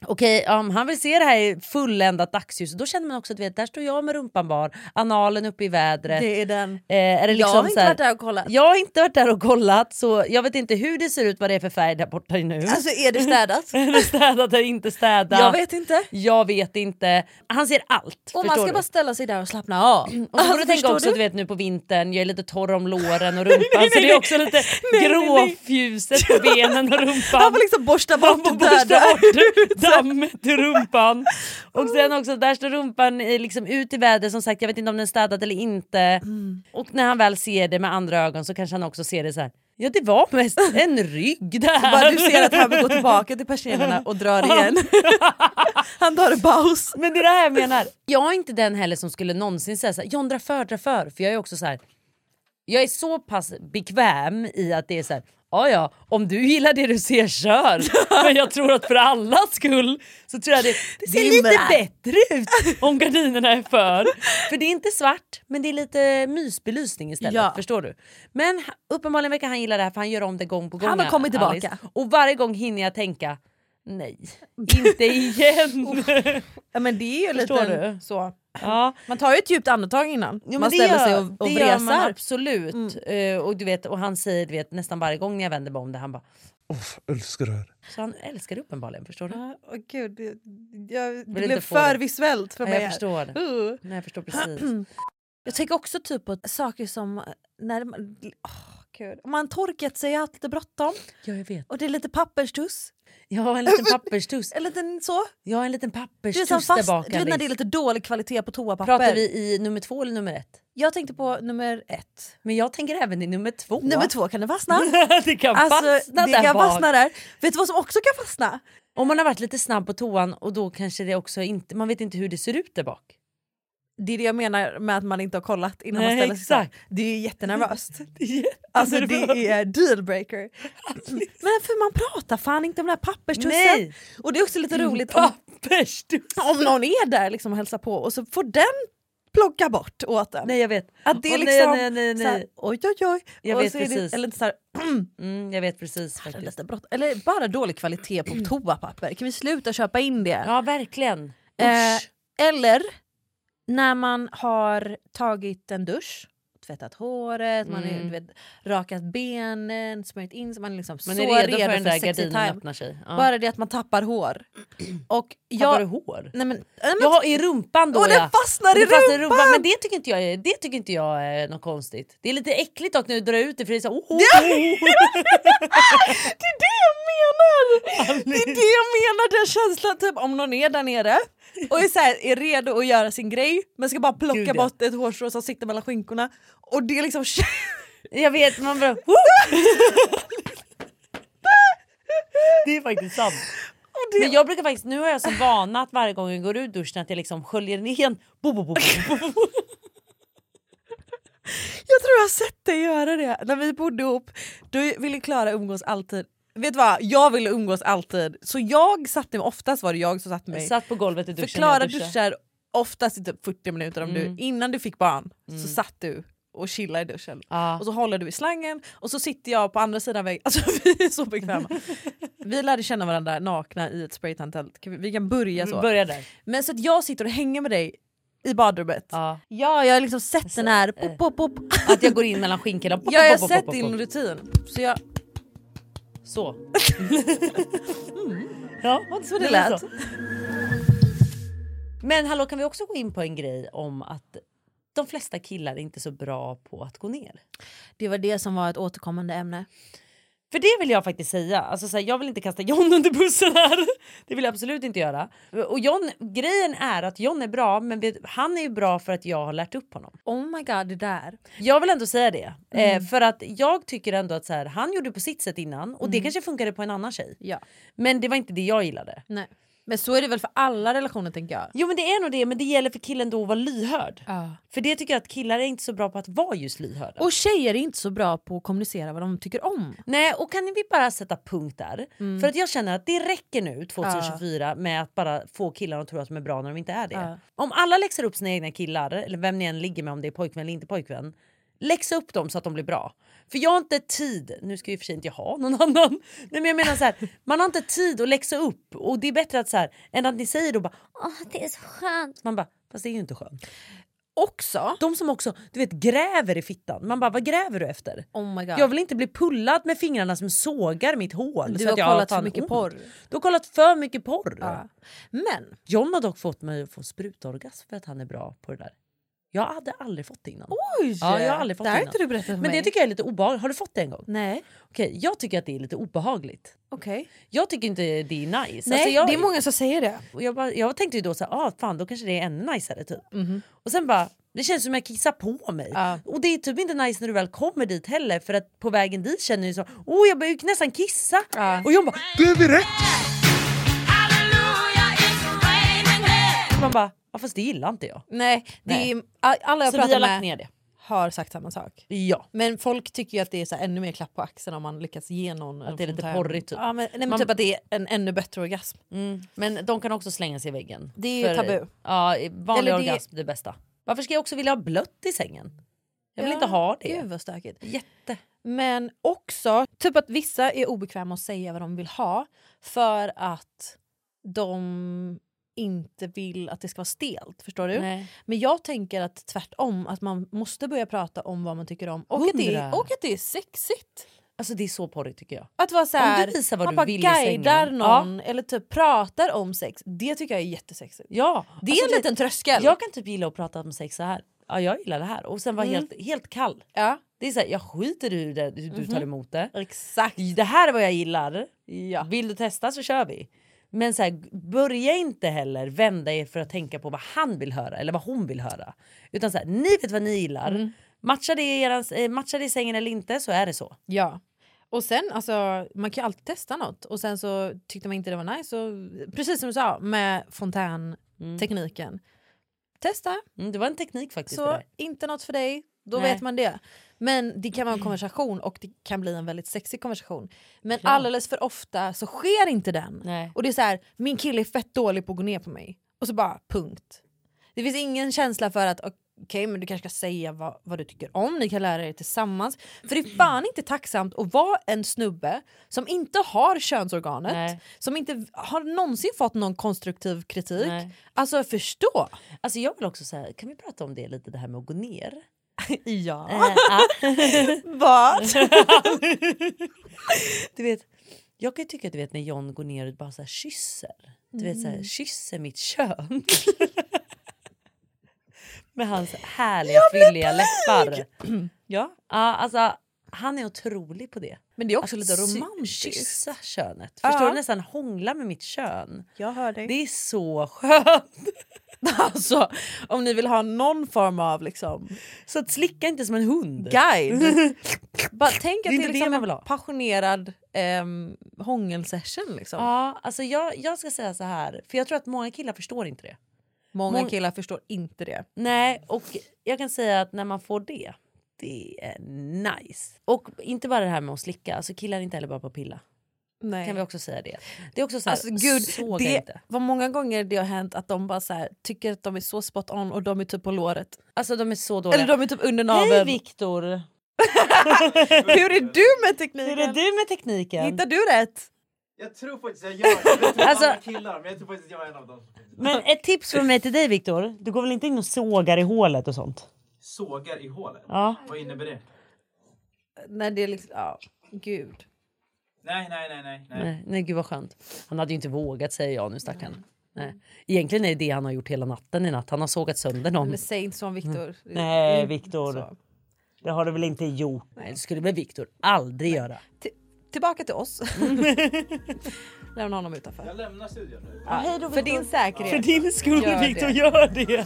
[SPEAKER 1] Okej, om han vill se det här i fulländat dagsljus, då känner man också att du vet, där står jag med rumpan bar, analen uppe i vädret.
[SPEAKER 4] Det är den.
[SPEAKER 1] Eh, är det liksom
[SPEAKER 4] jag har inte
[SPEAKER 1] så här,
[SPEAKER 4] varit där och kollat.
[SPEAKER 1] Jag har inte varit där och kollat, så jag vet inte hur det ser ut, vad det är för färg där borta nu.
[SPEAKER 4] Alltså är det städat?
[SPEAKER 1] är det städat eller inte städat?
[SPEAKER 4] Jag vet inte.
[SPEAKER 1] Jag vet inte. Han ser allt.
[SPEAKER 4] Och man
[SPEAKER 1] förstår
[SPEAKER 4] ska
[SPEAKER 1] du?
[SPEAKER 4] bara ställa sig där och slappna av.
[SPEAKER 1] Och så får du
[SPEAKER 4] Alltså,
[SPEAKER 1] tänka
[SPEAKER 4] förstår
[SPEAKER 1] också du? vet nu på vintern, jag är lite torr om låren och rumpan så det är också lite gråfjuset på benen och
[SPEAKER 4] Han
[SPEAKER 1] rumpan.
[SPEAKER 4] får liksom borsta
[SPEAKER 1] Man
[SPEAKER 4] bort
[SPEAKER 1] får
[SPEAKER 4] det
[SPEAKER 1] borsta
[SPEAKER 4] döda.
[SPEAKER 1] bort dammet i rumpan. Och sen
[SPEAKER 4] Oh.
[SPEAKER 1] också, där står rumpan eh, liksom ut i vädret som sagt, jag vet inte om den är städad eller inte.
[SPEAKER 4] Mm.
[SPEAKER 1] Och när han väl ser det med andra ögon så kanske han också ser det så här. ja det var mest en rygg
[SPEAKER 4] Bara
[SPEAKER 1] där.
[SPEAKER 4] du ser att han går tillbaka till persiennerna och drar igen. Han tar en paus.
[SPEAKER 1] Men det är det här jag menar. Jag är inte den heller som skulle någonsin säga såhär, John dra för, dra för. För jag är också så här. Jag är så pass bekväm i att det är så här, ja ja, om du gillar det du ser, kör. Men jag tror att för allas skull så tror jag det, det ser lite bättre ut om gardinerna är för. För det är inte svart, men det är lite mysbelysning istället.
[SPEAKER 4] Ja.
[SPEAKER 1] Förstår du? Men h- uppenbarligen verkar han gilla det här för han gör om det gång på gång.
[SPEAKER 4] Han har kommit tillbaka.
[SPEAKER 1] och varje gång hinner jag tänka, nej, inte igen.
[SPEAKER 4] Ja, men det är ju
[SPEAKER 1] Förstår
[SPEAKER 4] lite
[SPEAKER 1] du?
[SPEAKER 4] så.
[SPEAKER 1] ja.
[SPEAKER 4] Man tar ju ett djupt andetag innan
[SPEAKER 1] Jo, men
[SPEAKER 4] man
[SPEAKER 1] det
[SPEAKER 4] ställer sig
[SPEAKER 1] gör-
[SPEAKER 4] och, och
[SPEAKER 1] det gör man
[SPEAKER 4] vresar. Mm.
[SPEAKER 1] absolut. Eh, och, du vet, och han säger du vet, nästan varje gång när jag vänder mig om det, han bara
[SPEAKER 2] Älskar det här.
[SPEAKER 1] Så han älskar det uppenbarligen, förstår du?
[SPEAKER 4] Ja, Åh gud, jag, jag, det
[SPEAKER 1] Vill
[SPEAKER 4] blev
[SPEAKER 1] inte få det.
[SPEAKER 4] för visuellt för
[SPEAKER 1] Ja,
[SPEAKER 4] mig.
[SPEAKER 1] jag
[SPEAKER 4] här.
[SPEAKER 1] förstår. det.
[SPEAKER 4] Uh.
[SPEAKER 1] Nej, jag förstår precis.
[SPEAKER 4] Jag tänker också typ på saker som... När man, åh, gud. Om man torkat sig, jag har haft lite bråttom
[SPEAKER 1] Ja, jag vet.
[SPEAKER 4] och det är lite papperstuss.
[SPEAKER 1] Jag har en liten papperstuss.
[SPEAKER 4] En liten så.
[SPEAKER 1] Jag har en liten
[SPEAKER 4] Det är
[SPEAKER 1] papperstuss
[SPEAKER 4] som
[SPEAKER 1] där
[SPEAKER 4] fast,
[SPEAKER 1] bak.
[SPEAKER 4] du vet när
[SPEAKER 1] Alice.
[SPEAKER 4] det är lite dålig kvalitet på toapapper.
[SPEAKER 1] Pratar vi i nummer två eller nummer ett?
[SPEAKER 4] Jag tänkte på nummer ett.
[SPEAKER 1] Men jag tänker även i nummer två.
[SPEAKER 4] Nummer två, kan det fastna?
[SPEAKER 1] det kan
[SPEAKER 4] Alltså,
[SPEAKER 1] fastna
[SPEAKER 4] det
[SPEAKER 1] där
[SPEAKER 4] kan
[SPEAKER 1] bak.
[SPEAKER 4] fastna där. Vet du vad som också kan fastna?
[SPEAKER 1] Om man har varit lite snabb på toan och då kanske det också inte, man vet inte hur det ser ut där bak.
[SPEAKER 4] Det är det jag menar med att man inte har kollat innan
[SPEAKER 1] Nej,
[SPEAKER 4] man ställer sig.
[SPEAKER 1] exakt.
[SPEAKER 4] där. Det är jättenervöst.
[SPEAKER 1] Det
[SPEAKER 4] Alltså det är dealbreaker. Men för man pratar fan inte om den här papperstussen.
[SPEAKER 1] Nej.
[SPEAKER 4] Och det är också lite roligt om,
[SPEAKER 1] Papperstuss!
[SPEAKER 4] om någon är där liksom och hälsar på och så får den plocka bort åt en.
[SPEAKER 1] Nej jag vet.
[SPEAKER 4] Att det är
[SPEAKER 1] Åh, nej,
[SPEAKER 4] liksom
[SPEAKER 1] nej, nej,
[SPEAKER 4] såhär,
[SPEAKER 1] nej.
[SPEAKER 4] oj oj oj.
[SPEAKER 1] Jag
[SPEAKER 4] och
[SPEAKER 1] vet
[SPEAKER 4] så är
[SPEAKER 1] precis.
[SPEAKER 4] Det, eller, inte såhär,
[SPEAKER 1] Mm, jag vet precis
[SPEAKER 4] "Det är
[SPEAKER 1] faktiskt.
[SPEAKER 4] lite brott. eller bara dålig kvalitet på toapapper. Kan vi sluta köpa in det?
[SPEAKER 1] Ja verkligen.
[SPEAKER 4] Eh,
[SPEAKER 1] Usch.
[SPEAKER 4] eller när man har tagit en dusch, tvättat håret, man är,
[SPEAKER 1] Mm.
[SPEAKER 4] du vet, rakat benen, smörjt in sig. Man är liksom
[SPEAKER 1] man
[SPEAKER 4] så
[SPEAKER 1] är redo, för den där
[SPEAKER 4] sexy
[SPEAKER 1] gardinen
[SPEAKER 4] time.
[SPEAKER 1] öppnar sig. Ja.
[SPEAKER 4] Bara det att man tappar hår. Och jag...
[SPEAKER 1] Tappar du hår?
[SPEAKER 4] Nej men, nej, men,
[SPEAKER 1] Ja i rumpan då
[SPEAKER 4] Åh, den
[SPEAKER 1] ja.
[SPEAKER 4] fastnar i
[SPEAKER 1] Det fastnar i
[SPEAKER 4] rumpan!
[SPEAKER 1] Men det tycker inte jag är, det tycker inte jag är något konstigt. Det är lite äckligt dock när du drar ut det för det är så oh, oh,
[SPEAKER 4] Det är det jag menar! Det är det jag menar, den känslan typ om någon är där nere och är, så här, är redo att göra sin grej men ska bara plocka
[SPEAKER 1] Gud, ja.
[SPEAKER 4] bort ett hårstrå som sitter mellan skinkorna och det är liksom...
[SPEAKER 1] Jag vet man bara oh. Det är faktiskt sant. Men jag brukar faktiskt, nu har jag som vana att varje gång jag går ur duschen att jag liksom sköljer ner en bo, bo, bo, bo, bo, bo.
[SPEAKER 4] Jag tror jag har sett dig göra det. När vi bodde ihop då ville Klara umgås alltid. Vet du vad, jag ville umgås alltid. Så jag satte mig, oftast var det jag som satte mig.
[SPEAKER 1] Satt på golvet i duschen
[SPEAKER 4] För Klara
[SPEAKER 1] jag duschar. Mm.
[SPEAKER 4] duschar oftast i typ 40 minuter om du, innan du fick barn så satt du och chillade i duschen.
[SPEAKER 1] Ja.
[SPEAKER 4] Och så håller du i slangen och så sitter jag på andra sidan väggen. Alltså vi är så bekväma. vi lärde känna varandra nakna i ett spraytantält. Kan Vi, vi kan börja så.
[SPEAKER 1] Börja där.
[SPEAKER 4] Men så att jag sitter och hänger med dig i badrummet.
[SPEAKER 1] Ja. liksom-
[SPEAKER 4] Ja, eh. jag har liksom sett den här... Pop, pop, pop.
[SPEAKER 1] Att jag går in mellan skinkorna. pop,
[SPEAKER 4] Ja, jag
[SPEAKER 1] pop, pop,
[SPEAKER 4] har sett
[SPEAKER 1] pop, pop.
[SPEAKER 4] din rutin. Så jag...
[SPEAKER 1] Så. Mm. Ja, var inte så
[SPEAKER 4] det lät.
[SPEAKER 1] Men hallå, kan vi också gå in på en grej om att de flesta killar är inte så bra på att gå ner?
[SPEAKER 4] Det var det som var ett återkommande ämne.
[SPEAKER 1] För det vill jag faktiskt säga. Alltså, så här, jag vill inte kasta John under bussen här. Det vill jag absolut inte göra. Och John, grejen är att John är bra, men vet- han är ju bra för att jag har lärt upp honom.
[SPEAKER 4] Oh my god, det där.
[SPEAKER 1] Jag vill ändå säga det.
[SPEAKER 4] Mm.
[SPEAKER 1] Eh, för att jag tycker ändå att så här, han gjorde på sitt sätt innan och det kanske funkade på en annan tjej.
[SPEAKER 4] Mm. Ja.
[SPEAKER 1] Men det var inte det jag gillade.
[SPEAKER 4] Nej. Men så är det väl för alla relationer tänker jag.
[SPEAKER 1] Jo men det är nog det, men det gäller för killen då att vara lyhörd. För det tycker jag att killar är inte så bra på att vara just lyhörda.
[SPEAKER 4] Och tjejer är inte så bra på att kommunicera vad de tycker om.
[SPEAKER 1] Nej och kan vi bara sätta punkt där? För att jag känner att det räcker nu 2024 med att bara få killar att tro att de är bra när de inte är det. Om alla läxar upp sina egna killar, eller vem ni än ligger med om det är pojkvän eller inte pojkvän. Läxa upp dem så att de blir bra. För jag har inte tid, nu ska ju i och för sig inte jag ha någon annan. Nej men jag menar så här, man har inte tid att läxa upp och det är bättre att så här, än att ni säger då bara,
[SPEAKER 5] Åh, det är så skönt.
[SPEAKER 1] man bara fast det är ju inte skönt.
[SPEAKER 4] Också.
[SPEAKER 1] De som också du vet, gräver i fittan. Man bara, vad gräver du efter?
[SPEAKER 4] Oh my god.
[SPEAKER 1] Jag vill inte bli pullad med fingrarna som sågar mitt hår.
[SPEAKER 4] Du
[SPEAKER 1] så
[SPEAKER 4] har
[SPEAKER 1] att jag
[SPEAKER 4] kollat
[SPEAKER 1] fan
[SPEAKER 4] för mycket
[SPEAKER 1] ont.
[SPEAKER 4] porr.
[SPEAKER 1] Du har kollat för mycket porr.
[SPEAKER 4] Ja. Men
[SPEAKER 1] John har dock fått mig att få sprutorgasm för att han är bra på det där. Jag hade aldrig fått det innan.
[SPEAKER 4] oj!
[SPEAKER 1] Ja, jag har aldrig fått
[SPEAKER 4] det här har
[SPEAKER 1] innan.
[SPEAKER 4] inte du berättat för
[SPEAKER 1] Men
[SPEAKER 4] mig.
[SPEAKER 1] det tycker jag är lite obehagligt. Har du fått det en gång?
[SPEAKER 4] Nej.
[SPEAKER 1] Okej, jag tycker att det är lite obehagligt.
[SPEAKER 4] Okej.
[SPEAKER 1] Jag tycker inte det är nice.
[SPEAKER 4] Nej,
[SPEAKER 1] Alltså, jag,
[SPEAKER 4] det är många som säger det.
[SPEAKER 1] och jag, bara, jag tänkte ju då så här, ah, fan då kanske det är ännu najsare typ. Och sen bara, det känns som jag kissar på mig.
[SPEAKER 4] Ja.
[SPEAKER 1] Och det är typ inte nice när du väl kommer dit heller för att på vägen dit känner du så, oh jag börjar ju nästan kissa.
[SPEAKER 4] Ja.
[SPEAKER 1] Och jag bara, man bara, ja fast det gillar inte jag.
[SPEAKER 4] Nej, det
[SPEAKER 1] Nej.
[SPEAKER 4] Är, alla jag
[SPEAKER 1] Så vi
[SPEAKER 4] pratar
[SPEAKER 1] har
[SPEAKER 4] med
[SPEAKER 1] lagt ner det.
[SPEAKER 4] har sagt samma sak.
[SPEAKER 1] Ja.
[SPEAKER 4] Men folk tycker ju att det är så här ännu mer klapp på axeln om man lyckas ge någon...
[SPEAKER 1] Att det är lite
[SPEAKER 4] sån här-
[SPEAKER 1] porrigt, typ.
[SPEAKER 4] Ja, men, nej, men
[SPEAKER 1] Man-
[SPEAKER 4] typ att det är en ännu bättre orgasm.
[SPEAKER 1] Mm. Men de kan också slänga sig i väggen.
[SPEAKER 4] Det är ju tabu.
[SPEAKER 1] Ja, vanlig
[SPEAKER 4] Eller det-
[SPEAKER 1] orgasm det... är det bästa. Varför ska jag också vilja ha blött i sängen? Jag vill
[SPEAKER 4] Ja,
[SPEAKER 1] inte ha det.
[SPEAKER 4] Gud vad stökigt.
[SPEAKER 1] Jätte.
[SPEAKER 4] Men också typ att vissa är obekväma att säga vad de vill ha för att de inte vill att det ska vara stelt. Förstår du?
[SPEAKER 1] Nej.
[SPEAKER 4] Men jag tänker att tvärtom, att man måste börja prata om vad man tycker om och, att det, är,
[SPEAKER 1] Hundra.
[SPEAKER 4] och att det är sexigt.
[SPEAKER 1] Alltså det är så porrigt tycker jag.
[SPEAKER 4] Att vara så här,
[SPEAKER 1] Om du visar vad
[SPEAKER 4] man
[SPEAKER 1] du
[SPEAKER 4] bara
[SPEAKER 1] vill i
[SPEAKER 4] guidar
[SPEAKER 1] sängen.
[SPEAKER 4] någon eller typ pratar om sex. Det tycker jag är jättesexigt.
[SPEAKER 1] Ja.
[SPEAKER 4] Det är
[SPEAKER 1] alltså,
[SPEAKER 4] en liten tröskel.
[SPEAKER 1] Jag kan typ gilla att prata om sex så här. Ja, jag gillar det här. Och sen vara helt, helt kall.
[SPEAKER 4] Ja,
[SPEAKER 1] Det är så här, jag skiter i hur, det, hur du tar emot det.
[SPEAKER 4] exakt.
[SPEAKER 1] Det här är vad jag gillar.
[SPEAKER 4] Ja.
[SPEAKER 1] Vill du testa så kör vi. Men så här, börja inte heller vända er för att tänka på vad han vill höra eller vad hon vill höra. Utan så här, ni vet vad ni gillar. Matchar, det i erans, eh, matchar det i sängen eller inte så är det så.
[SPEAKER 4] Ja. Och sen, alltså, man kan ju alltid testa något. Och sen så tyckte man inte det var nice. Så, precis som du sa med fontäntekniken. Testa,
[SPEAKER 1] Mm, det var en teknik faktiskt. det
[SPEAKER 4] så
[SPEAKER 1] där.
[SPEAKER 4] inte något för dig. Då
[SPEAKER 1] Nej.
[SPEAKER 4] vet man det. Men det kan vara en konversation och det kan bli en väldigt sexig konversation. Men alldeles för ofta så sker inte den.
[SPEAKER 1] Nej.
[SPEAKER 4] Och det är så här, min kille är fett dålig på att gå ner på mig. Och så bara punkt. Det finns ingen känsla för att okej men du kanske ska säga vad, vad du tycker om, ni kan lära er tillsammans. För det är fan inte tacksamt att vara en snubbe som inte har könsorganet,
[SPEAKER 1] Nej.
[SPEAKER 4] som inte har någonsin fått någon konstruktiv kritik.
[SPEAKER 1] Nej.
[SPEAKER 4] Alltså förstå!
[SPEAKER 1] Alltså jag vill också säga, kan vi prata om det lite det här med att gå ner?
[SPEAKER 4] Ja.
[SPEAKER 1] Eh, ah.
[SPEAKER 4] Vad?
[SPEAKER 1] du vet, jag kan ju tycka att du vet när John går ner och bara så här kysser. Du vet så här,
[SPEAKER 4] Mm.
[SPEAKER 1] kysser mitt kön. Med hans härliga fylliga läppar.
[SPEAKER 4] ja.
[SPEAKER 1] Ja, alltså, han är otrolig på det.
[SPEAKER 4] Men det är också
[SPEAKER 1] Att
[SPEAKER 4] lite
[SPEAKER 1] sy-
[SPEAKER 4] romantiskt.
[SPEAKER 1] Kyssa könet. Förstår
[SPEAKER 4] Ja.
[SPEAKER 1] du? Nästan hångla med mitt kön.
[SPEAKER 4] Jag hör dig.
[SPEAKER 1] Det är så skönt.
[SPEAKER 4] Alltså, om ni vill ha någon form av liksom,
[SPEAKER 1] Så att slicka inte som en hund.
[SPEAKER 4] guide. Bara tänk att det
[SPEAKER 1] inte
[SPEAKER 4] är
[SPEAKER 1] det
[SPEAKER 4] liksom
[SPEAKER 1] man vill
[SPEAKER 4] en
[SPEAKER 1] ha.
[SPEAKER 4] passionerad ehm, hångelsession. Liksom.
[SPEAKER 1] Ja, alltså jag, jag ska säga så här, för jag tror att många killar förstår inte det.
[SPEAKER 4] Många
[SPEAKER 1] Mång-
[SPEAKER 4] killar förstår inte det.
[SPEAKER 1] Nej, och jag kan säga att när man får det, det är nice. Och inte bara det här med att slicka, alltså killar är inte heller bara på att pilla.
[SPEAKER 4] Nej.
[SPEAKER 1] Kan vi också säga det. Det är också så här,
[SPEAKER 4] Alltså gud,
[SPEAKER 1] såga
[SPEAKER 4] det
[SPEAKER 1] inte.
[SPEAKER 4] var många gånger det har hänt att de bara så här, tycker att de är så spot on och de är typ på låret.
[SPEAKER 1] Alltså de är så dåliga.
[SPEAKER 4] Eller de är typ under
[SPEAKER 1] Hej
[SPEAKER 4] naveln.
[SPEAKER 1] Viktor!
[SPEAKER 4] Hur är du med
[SPEAKER 1] Hur
[SPEAKER 4] tekniken?
[SPEAKER 1] är du med tekniken?
[SPEAKER 4] Hittar du rätt?
[SPEAKER 3] Jag tror faktiskt jag gör det. Jag vet inte
[SPEAKER 1] Alltså-
[SPEAKER 3] alltså... killar men jag tror faktiskt jag är en av dem.
[SPEAKER 1] Men ett tips från mig till dig Viktor, du går väl inte in och sågar i hålet och sånt?
[SPEAKER 3] Sågar i hålet?
[SPEAKER 1] Ja.
[SPEAKER 3] Vad innebär det?
[SPEAKER 4] Nej det är liksom, ja, gud.
[SPEAKER 3] Nej, nej, nej, nej. nej.
[SPEAKER 1] Nej, nej gud vad skönt. Han hade ju inte vågat säger jag nu stackarn. Nej. Egentligen är det det han har gjort hela natten i natt. Han har sågat sönder någon.
[SPEAKER 4] Men säg inte så om Viktor.
[SPEAKER 1] Nej,
[SPEAKER 4] Mm,
[SPEAKER 1] Viktor.
[SPEAKER 4] så.
[SPEAKER 1] Det har du väl inte gjort? Nej. Det skulle väl Viktor aldrig göra.
[SPEAKER 4] Ti- Tillbaka till oss.
[SPEAKER 1] Mm.
[SPEAKER 4] Lämna honom utanför.
[SPEAKER 3] Jag lämnar studion nu.
[SPEAKER 4] För din säkerhet.
[SPEAKER 1] För din skull
[SPEAKER 4] Gör det.
[SPEAKER 1] Viktor, gör det!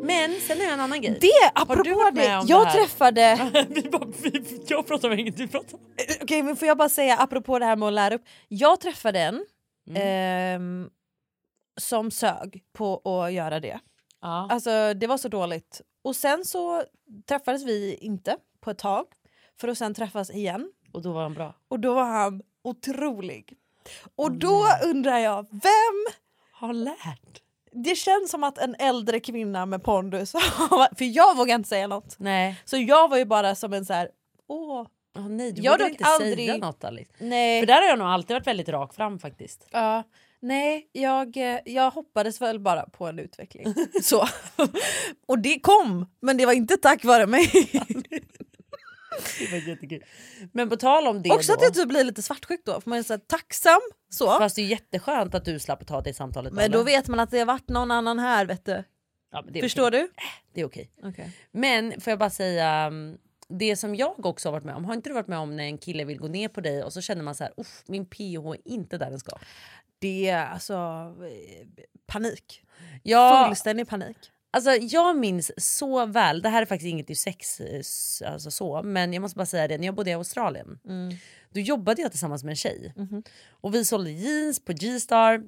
[SPEAKER 1] Men sen har jag en annan grej.
[SPEAKER 4] Det,
[SPEAKER 1] Har du
[SPEAKER 4] apropå
[SPEAKER 1] varit
[SPEAKER 4] det,
[SPEAKER 1] med om
[SPEAKER 4] jag
[SPEAKER 1] det här?
[SPEAKER 4] träffade...
[SPEAKER 1] vi bara, vi, jag pratar om inget du pratar om.
[SPEAKER 4] Okej men får jag bara säga apropå det här med att lära upp. Jag träffade en ehm, som sög på att göra det.
[SPEAKER 1] Ja.
[SPEAKER 4] Alltså det var så dåligt. Och sen så träffades vi inte på ett tag för att sen träffas igen.
[SPEAKER 1] Och då var han bra.
[SPEAKER 4] Och då var han otrolig. Och då undrar jag, vem?
[SPEAKER 1] Har lärt?
[SPEAKER 4] Det känns som att en äldre kvinna med pondus, har- för jag vågar inte säga något.
[SPEAKER 1] Nej.
[SPEAKER 4] Så jag var ju bara som en så här, åh,
[SPEAKER 1] Åh, nej du
[SPEAKER 4] Jag
[SPEAKER 1] borde
[SPEAKER 4] dock
[SPEAKER 1] inte
[SPEAKER 4] aldrig-
[SPEAKER 1] säga något Alice.
[SPEAKER 4] nej.
[SPEAKER 1] För där har jag nog alltid varit väldigt rak fram faktiskt.
[SPEAKER 4] Ja, nej, jag, eh, jag hoppades väl bara på en utveckling. Så. Och det kom, men det var inte tack vare mig.
[SPEAKER 1] Det var jättekul. Men på tal om det
[SPEAKER 4] Också
[SPEAKER 1] då.
[SPEAKER 4] att jag typ blir lite svartsjuk då, för man är så här, tacksam. Så.
[SPEAKER 1] Fast det är jätteskönt att du slapp ta det samtalet.
[SPEAKER 4] men då
[SPEAKER 1] Dalen.
[SPEAKER 4] vet man att det har varit någon annan här, vet du.
[SPEAKER 1] ja, men det är
[SPEAKER 4] Förstår
[SPEAKER 1] okej.
[SPEAKER 4] du?
[SPEAKER 1] Det är okej.
[SPEAKER 4] Okay.
[SPEAKER 1] Men får jag bara säga, mm, det som jag också har varit med om, har inte du varit med om när en kille vill gå ner på dig och så känner man så här, "Uff, min PH är inte där den ska.
[SPEAKER 4] Det är alltså eh, panik.
[SPEAKER 1] Jag,
[SPEAKER 4] Fullständig panik.
[SPEAKER 1] alltså, jag minns så väl, det här är faktiskt inget i sex, eh, s- alltså så, men jag måste bara säga det, när jag bodde i Australien, då jobbade jag tillsammans med en tjej. Och vi sålde jeans på G-star.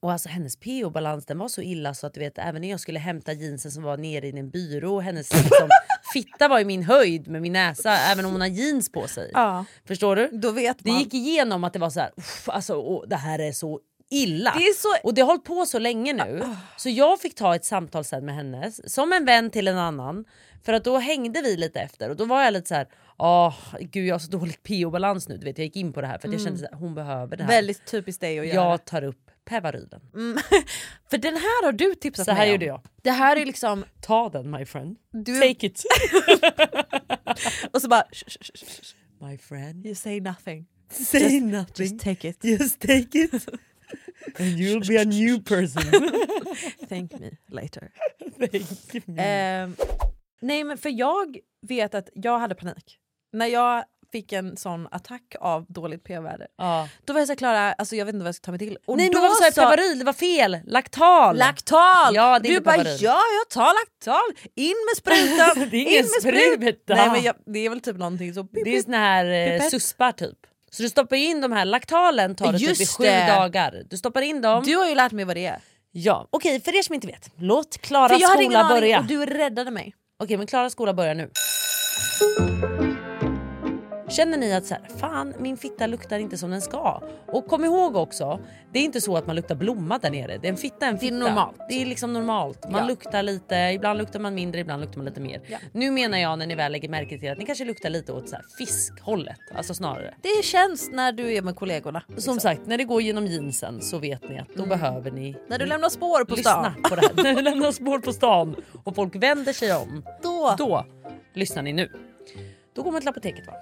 [SPEAKER 1] Och alltså hennes PO-balans den var så illa så att du vet även när jag skulle hämta jeansen som var nere i en byrå, hennes liksom, fitta var i min höjd med min näsa även om hon har jeans på sig.
[SPEAKER 4] Ja.
[SPEAKER 1] Förstår du?
[SPEAKER 4] Då vet
[SPEAKER 1] Det
[SPEAKER 4] man.
[SPEAKER 1] gick igenom att det var så här, "Uff, alltså, åh, det här är så illa.
[SPEAKER 4] Det är så-
[SPEAKER 1] Och det har hållit på så länge
[SPEAKER 4] Ah,
[SPEAKER 1] nu. Så jag fick ta ett samtal sen med henne, som en vän till en annan. För att då hängde vi lite efter och då var jag lite så här, åh gud jag har så dålig PO-balans nu. Du vet, jag gick in på det här för att jag kände att hon behöver det här.
[SPEAKER 4] Mm. Väldigt typiskt dig att göra. Mm.
[SPEAKER 1] jag tar upp Pävaryden.
[SPEAKER 4] För den här har du tipsat
[SPEAKER 1] Så här
[SPEAKER 4] mig om.
[SPEAKER 1] gjorde jag.
[SPEAKER 4] Det här är liksom...
[SPEAKER 1] Ta den my friend.
[SPEAKER 4] Du,
[SPEAKER 1] Take it.
[SPEAKER 4] och så bara... "Shh, shh, shh, shh, shh."
[SPEAKER 1] my friend.
[SPEAKER 4] You say nothing.
[SPEAKER 1] Say
[SPEAKER 4] Just-
[SPEAKER 1] nothing.
[SPEAKER 4] Just take it.
[SPEAKER 1] Mm. Just take it. And you'll be a new person.
[SPEAKER 4] Thank me later.
[SPEAKER 1] Thank you.
[SPEAKER 4] Ehm, nej men för jag vet att jag hade panik. När jag fick en sån attack av dåligt p-värde.
[SPEAKER 1] Ja.
[SPEAKER 4] Då var jag så här, Klara, alltså jag vet inte vad jag ska ta mig till. Och
[SPEAKER 1] Nej
[SPEAKER 4] då
[SPEAKER 1] men varför sa jag Pävaryl? Det var fel! Laktal!
[SPEAKER 4] Laktal!
[SPEAKER 1] Ja, det är
[SPEAKER 4] du
[SPEAKER 1] inte
[SPEAKER 4] bara
[SPEAKER 1] Pavarin.
[SPEAKER 4] ja, jag tar laktal, in med sprutan,
[SPEAKER 1] Det är
[SPEAKER 4] in
[SPEAKER 1] ingen
[SPEAKER 4] med sprut-
[SPEAKER 1] spruta.
[SPEAKER 4] Nej men jag, det är väl typ någonting så...
[SPEAKER 1] Det är såna här eh,
[SPEAKER 4] Pipett.
[SPEAKER 1] suspar typ. Så du stoppar in de här, laktalen tar det typ i
[SPEAKER 4] Just
[SPEAKER 1] sju
[SPEAKER 4] det.
[SPEAKER 1] dagar. Du stoppar in dem.
[SPEAKER 4] Du har ju lärt mig vad det är.
[SPEAKER 1] Ja. Okej för er som inte vet, låt Klaras
[SPEAKER 4] För jag hade ingen
[SPEAKER 1] skola
[SPEAKER 4] aning
[SPEAKER 1] börja.
[SPEAKER 4] och du räddade mig.
[SPEAKER 1] Okej men Klaras skola börjar nu. Känner ni att så här, fan min fitta luktar inte som den ska? Och kom ihåg också, det är inte så att man luktar blomma där nere. Det är en fitta är en
[SPEAKER 4] Det är
[SPEAKER 1] fitta.
[SPEAKER 4] normalt.
[SPEAKER 1] Det är liksom normalt. Man
[SPEAKER 4] Ja.
[SPEAKER 1] luktar lite, ibland luktar man mindre, ibland luktar man lite mer. Nu menar jag när ni väl lägger märke till att ni kanske luktar lite åt så här fiskhållet, alltså snarare.
[SPEAKER 4] Det känns när du är med kollegorna. liksom.
[SPEAKER 1] Som sagt, när det går genom jeansen så vet ni att då behöver ni
[SPEAKER 4] Mm. När du lämnar spår på
[SPEAKER 1] lyssna
[SPEAKER 4] stan.
[SPEAKER 1] på det här. När det lämnar spår på stan och folk vänder sig om,
[SPEAKER 4] Då.
[SPEAKER 1] då lyssnar ni nu. Då går man till apoteket va?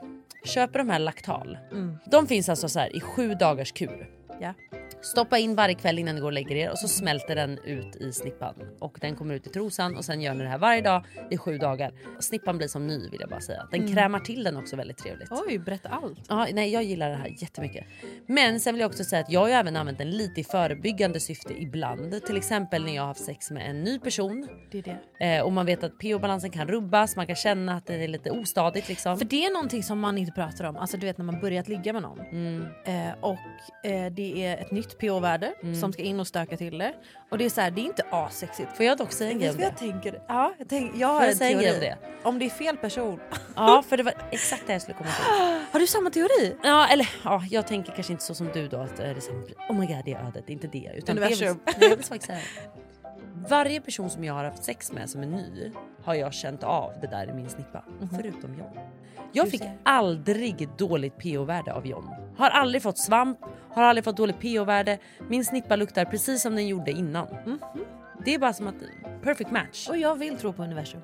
[SPEAKER 1] köper de här Lactal.
[SPEAKER 4] Mm.
[SPEAKER 1] De finns alltså så här i sju dagars kur.
[SPEAKER 4] Ja.
[SPEAKER 1] Stoppa in varje kväll innan ni går och lägger er och så smälter den ut i snippan och den kommer ut i trosan och sen gör ni det här varje dag i sju dagar. Snippan blir som ny vill jag bara säga. Den krämar till den också väldigt trevligt.
[SPEAKER 4] Mm. Oj, berätta allt.
[SPEAKER 1] Ja, nej, jag gillar det här jättemycket. Men sen vill jag också säga att jag har ju även använt den lite i förebyggande syfte ibland. Till exempel när jag har haft sex med en ny person
[SPEAKER 4] Det är det.
[SPEAKER 1] eh, och man vet att pH-balansen kan rubbas, man kan känna att det är lite ostadigt liksom.
[SPEAKER 4] För det är någonting som man inte pratar om. Alltså du vet när man börjat ligga med någon. Eh, och eh, det är ett nytt pH-värde
[SPEAKER 1] Mm.
[SPEAKER 4] som ska in och stöka till det. Och det är så här, det är inte asexigt.
[SPEAKER 1] Får jag dock säga en grej
[SPEAKER 4] Vet
[SPEAKER 1] om
[SPEAKER 4] du vad
[SPEAKER 1] det?
[SPEAKER 4] jag tänker? Ja, jag, tänk, jag har
[SPEAKER 1] jag
[SPEAKER 4] en
[SPEAKER 1] säga en
[SPEAKER 4] teori.
[SPEAKER 1] grej om
[SPEAKER 4] Om det. är fel person.
[SPEAKER 1] Ja, för det var exakt det jag skulle komma till.
[SPEAKER 4] har du samma teori?
[SPEAKER 1] Ja, eller ja, jag tänker kanske inte så som du då att eh, det är samma, oh my god det är ödet, det är inte det. Utan det är väl-
[SPEAKER 4] Universum.
[SPEAKER 1] nej, jag vill faktiskt säga det. Varje person som jag har haft sex med som är ny har jag känt av det där i min snippa. Förutom John. Jag fick aldrig dåligt pH-värde av John. Har aldrig fått svamp, har aldrig fått dåligt pH-värde. Min snippa luktar precis som den gjorde innan. Det är bara som att eh, perfect match.
[SPEAKER 4] Och jag vill tro på universum.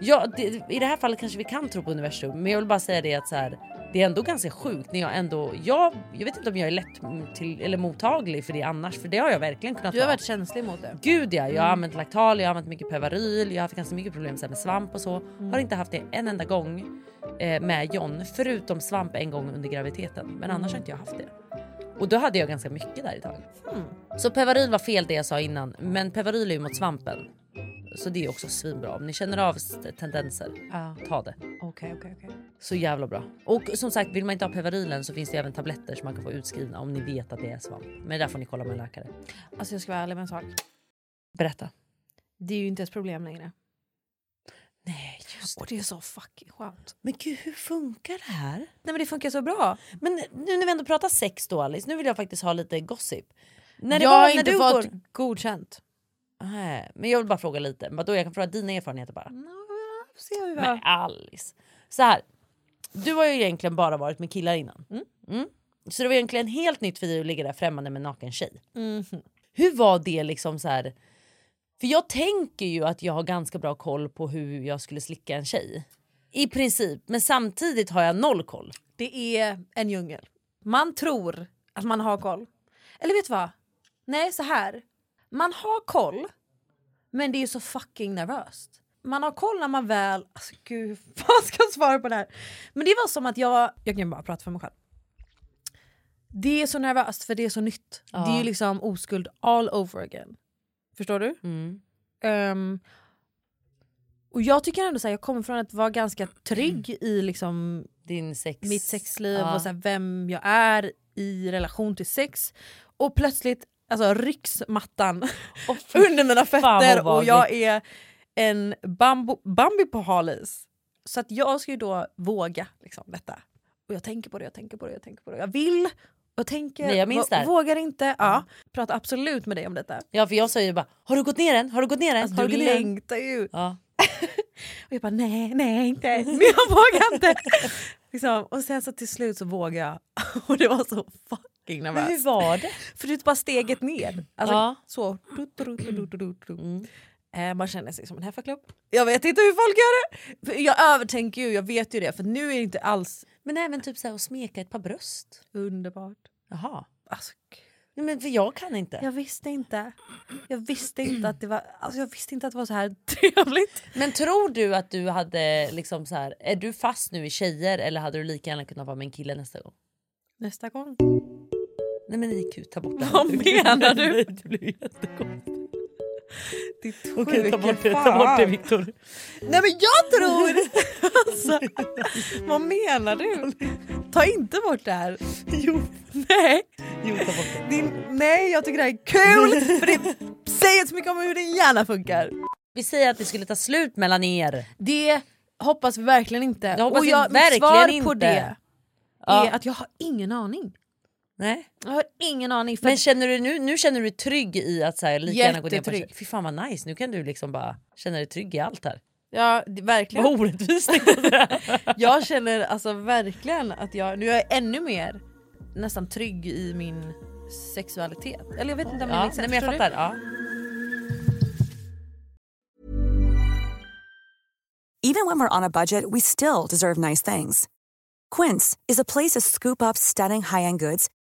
[SPEAKER 1] Ja, det, I det här fallet kanske vi kan tro på universum men jag vill bara säga det att så här, det är ändå ganska sjukt när jag ändå... Jag, jag vet inte om jag är lätt mm, till, eller mottaglig för det annars, för det har jag verkligen kunnat
[SPEAKER 4] Du har
[SPEAKER 1] vara.
[SPEAKER 4] varit känslig mot det.
[SPEAKER 1] Gud ja, jag har
[SPEAKER 4] Mm.
[SPEAKER 1] använt Lactal, jag har använt mycket Pevaryl, jag har haft ganska mycket problem så här med svamp och så. Har inte haft det en enda gång eh, med John, förutom svamp en gång under graviditeten. Men annars har inte jag haft det. Och då hade jag ganska mycket där ett tag. Så Pevaryl var fel det jag sa innan, men Pevaryl är ju mot svampen. Så det är också svinbra. Om ni känner av s- tendenser,
[SPEAKER 4] Ja.
[SPEAKER 1] ta det.
[SPEAKER 4] Okej, okej, okej.
[SPEAKER 1] Så jävla bra. Och som sagt, vill man inte ha Pevarylen så finns det även tabletter som man kan få utskrivna om ni vet att det är svamp. Men det där får ni kolla med en läkare.
[SPEAKER 4] Alltså jag ska vara ärlig med en sak.
[SPEAKER 1] Berätta.
[SPEAKER 4] Det är ju inte ett problem längre.
[SPEAKER 1] Nej, just
[SPEAKER 4] Och det är så fucking skönt.
[SPEAKER 1] Men gud, hur funkar det här?
[SPEAKER 4] Nej men det funkar så bra.
[SPEAKER 1] Men nu när vi ändå pratar sex då Alice, nu vill jag faktiskt ha lite gossip. När det
[SPEAKER 4] jag
[SPEAKER 1] var,
[SPEAKER 4] har
[SPEAKER 1] när
[SPEAKER 4] inte
[SPEAKER 1] du
[SPEAKER 4] fått
[SPEAKER 1] går...
[SPEAKER 4] godkänt.
[SPEAKER 1] Nej, men jag vill bara fråga lite, vadå jag kan fråga dina erfarenheter bara.
[SPEAKER 4] Se hur vi
[SPEAKER 1] Nej
[SPEAKER 4] har.
[SPEAKER 1] Alice. Så här. Du har ju egentligen bara varit med killar innan. Mm. Så det var egentligen helt nytt för dig att ligga där främmande med en naken tjej.
[SPEAKER 4] Mhm.
[SPEAKER 1] Hur var det liksom så här? För jag tänker ju att jag har ganska bra koll på hur jag skulle slicka en tjej. I princip, men samtidigt har jag noll koll.
[SPEAKER 4] Det är en djungel. Man tror att man har koll. Eller vet du vad? Nej, så här. Man har koll, men det är så fucking nervöst. Man har koll när man väl... Alltså gud, hur fan ska jag svara på det här? Men det var som att jag... Jag kan bara prata för mig själv. Det är så nervöst för det är så nytt. Det är ju liksom oskuld all over again. Förstår du? Ehm, och jag tycker ändå så här, jag kommer från att vara ganska trygg i liksom
[SPEAKER 1] Din sex...
[SPEAKER 4] mitt sexliv
[SPEAKER 1] Ja.
[SPEAKER 4] och så här, vem jag är i relation till sex. Och plötsligt alltså, rycks mattan under mina
[SPEAKER 1] vad
[SPEAKER 4] fötter och
[SPEAKER 1] obehagligt.
[SPEAKER 4] jag är en bambo, Bambi på halis. Så att jag ska ju då våga liksom, detta. Och jag tänker på det, jag tänker på det, jag tänker på det. Jag vill och jag tänker,
[SPEAKER 1] Nej, jag minns
[SPEAKER 4] vå-
[SPEAKER 1] det här.
[SPEAKER 4] vågar inte. Ja. Prata absolut med dig om detta.
[SPEAKER 1] Ja för jag säger ju bara har du gått ner än? Har du gått ner än?
[SPEAKER 4] Alltså,
[SPEAKER 1] har
[SPEAKER 4] du
[SPEAKER 1] gått ner än?"
[SPEAKER 4] längtar ju.
[SPEAKER 1] Ja.
[SPEAKER 4] Och jag bara nej, nej inte än. Men jag vågar inte. liksom. Och sen så till slut så vågade jag. Och det var så fucking
[SPEAKER 1] Men hur
[SPEAKER 4] nervöst.
[SPEAKER 1] var det?
[SPEAKER 4] För det är bara steget ner. Alltså
[SPEAKER 1] Ja.
[SPEAKER 4] så. Du, du, du, du, du, du, du. Eh, man känner sig som en heffaklubb. Jag vet inte hur folk gör det. För Jag övertänker ju, jag vet ju det. För nu är det inte alls
[SPEAKER 1] Men även typ så här att smeka ett par bröst.
[SPEAKER 4] underbart.
[SPEAKER 1] Jaha.
[SPEAKER 4] Alltså, gud.
[SPEAKER 1] Nej, men för jag kan inte.
[SPEAKER 4] jag visste inte. Jag visste inte att det var alltså, jag visste inte att det var så här trevligt.
[SPEAKER 1] Men tror du att du hade liksom så här, är du fast nu i tjejer eller hade du lika gärna kunnat vara med en kille nästa gång?
[SPEAKER 4] Nästa gång.
[SPEAKER 1] Nej men IQ, ta bort det. här.
[SPEAKER 4] Vad menar du?
[SPEAKER 1] Nej, det blir jättekonstigt.
[SPEAKER 4] Ditt
[SPEAKER 1] Okej ta bort det,
[SPEAKER 4] sjuke
[SPEAKER 1] ta bort det
[SPEAKER 4] fan.
[SPEAKER 1] Viktor.
[SPEAKER 4] Nej men jag tror... alltså, vad menar du? Ta inte bort det här. Jo. Nej.
[SPEAKER 1] Jo ta bort det.
[SPEAKER 4] Din, nej, jag tycker det här är kul för det säger så mycket om hur din hjärna funkar.
[SPEAKER 1] Vi säger att det skulle ta slut mellan er.
[SPEAKER 4] Det hoppas vi verkligen inte.
[SPEAKER 1] Det hoppas
[SPEAKER 4] Och
[SPEAKER 1] vi
[SPEAKER 4] jag, mitt
[SPEAKER 1] verkligen
[SPEAKER 4] svar på
[SPEAKER 1] inte.
[SPEAKER 4] det
[SPEAKER 1] Ja.
[SPEAKER 4] är att jag har ingen aning.
[SPEAKER 1] Nej.
[SPEAKER 4] Jag har ingen aning. För
[SPEAKER 1] Men känner du nu, nu känner du dig trygg i att så här, lika gärna gå ner på en tjej?
[SPEAKER 4] Jättetrygg.
[SPEAKER 1] Fy fan vad nice, nu kan du liksom bara känna dig trygg i allt här.
[SPEAKER 4] ja, det- verkligen.
[SPEAKER 1] Vad orättvist tänkte jag säga.
[SPEAKER 4] Jag känner alltså verkligen att jag nu är jag ännu mer nästan trygg i min sexualitet. Eller jag vet inte om
[SPEAKER 1] Ja,
[SPEAKER 4] det
[SPEAKER 1] nej, men jag fattar. Ja.
[SPEAKER 8] Even when we're on a budget, we still deserve nice things. Quince is a place to scoop up stunning high-end goods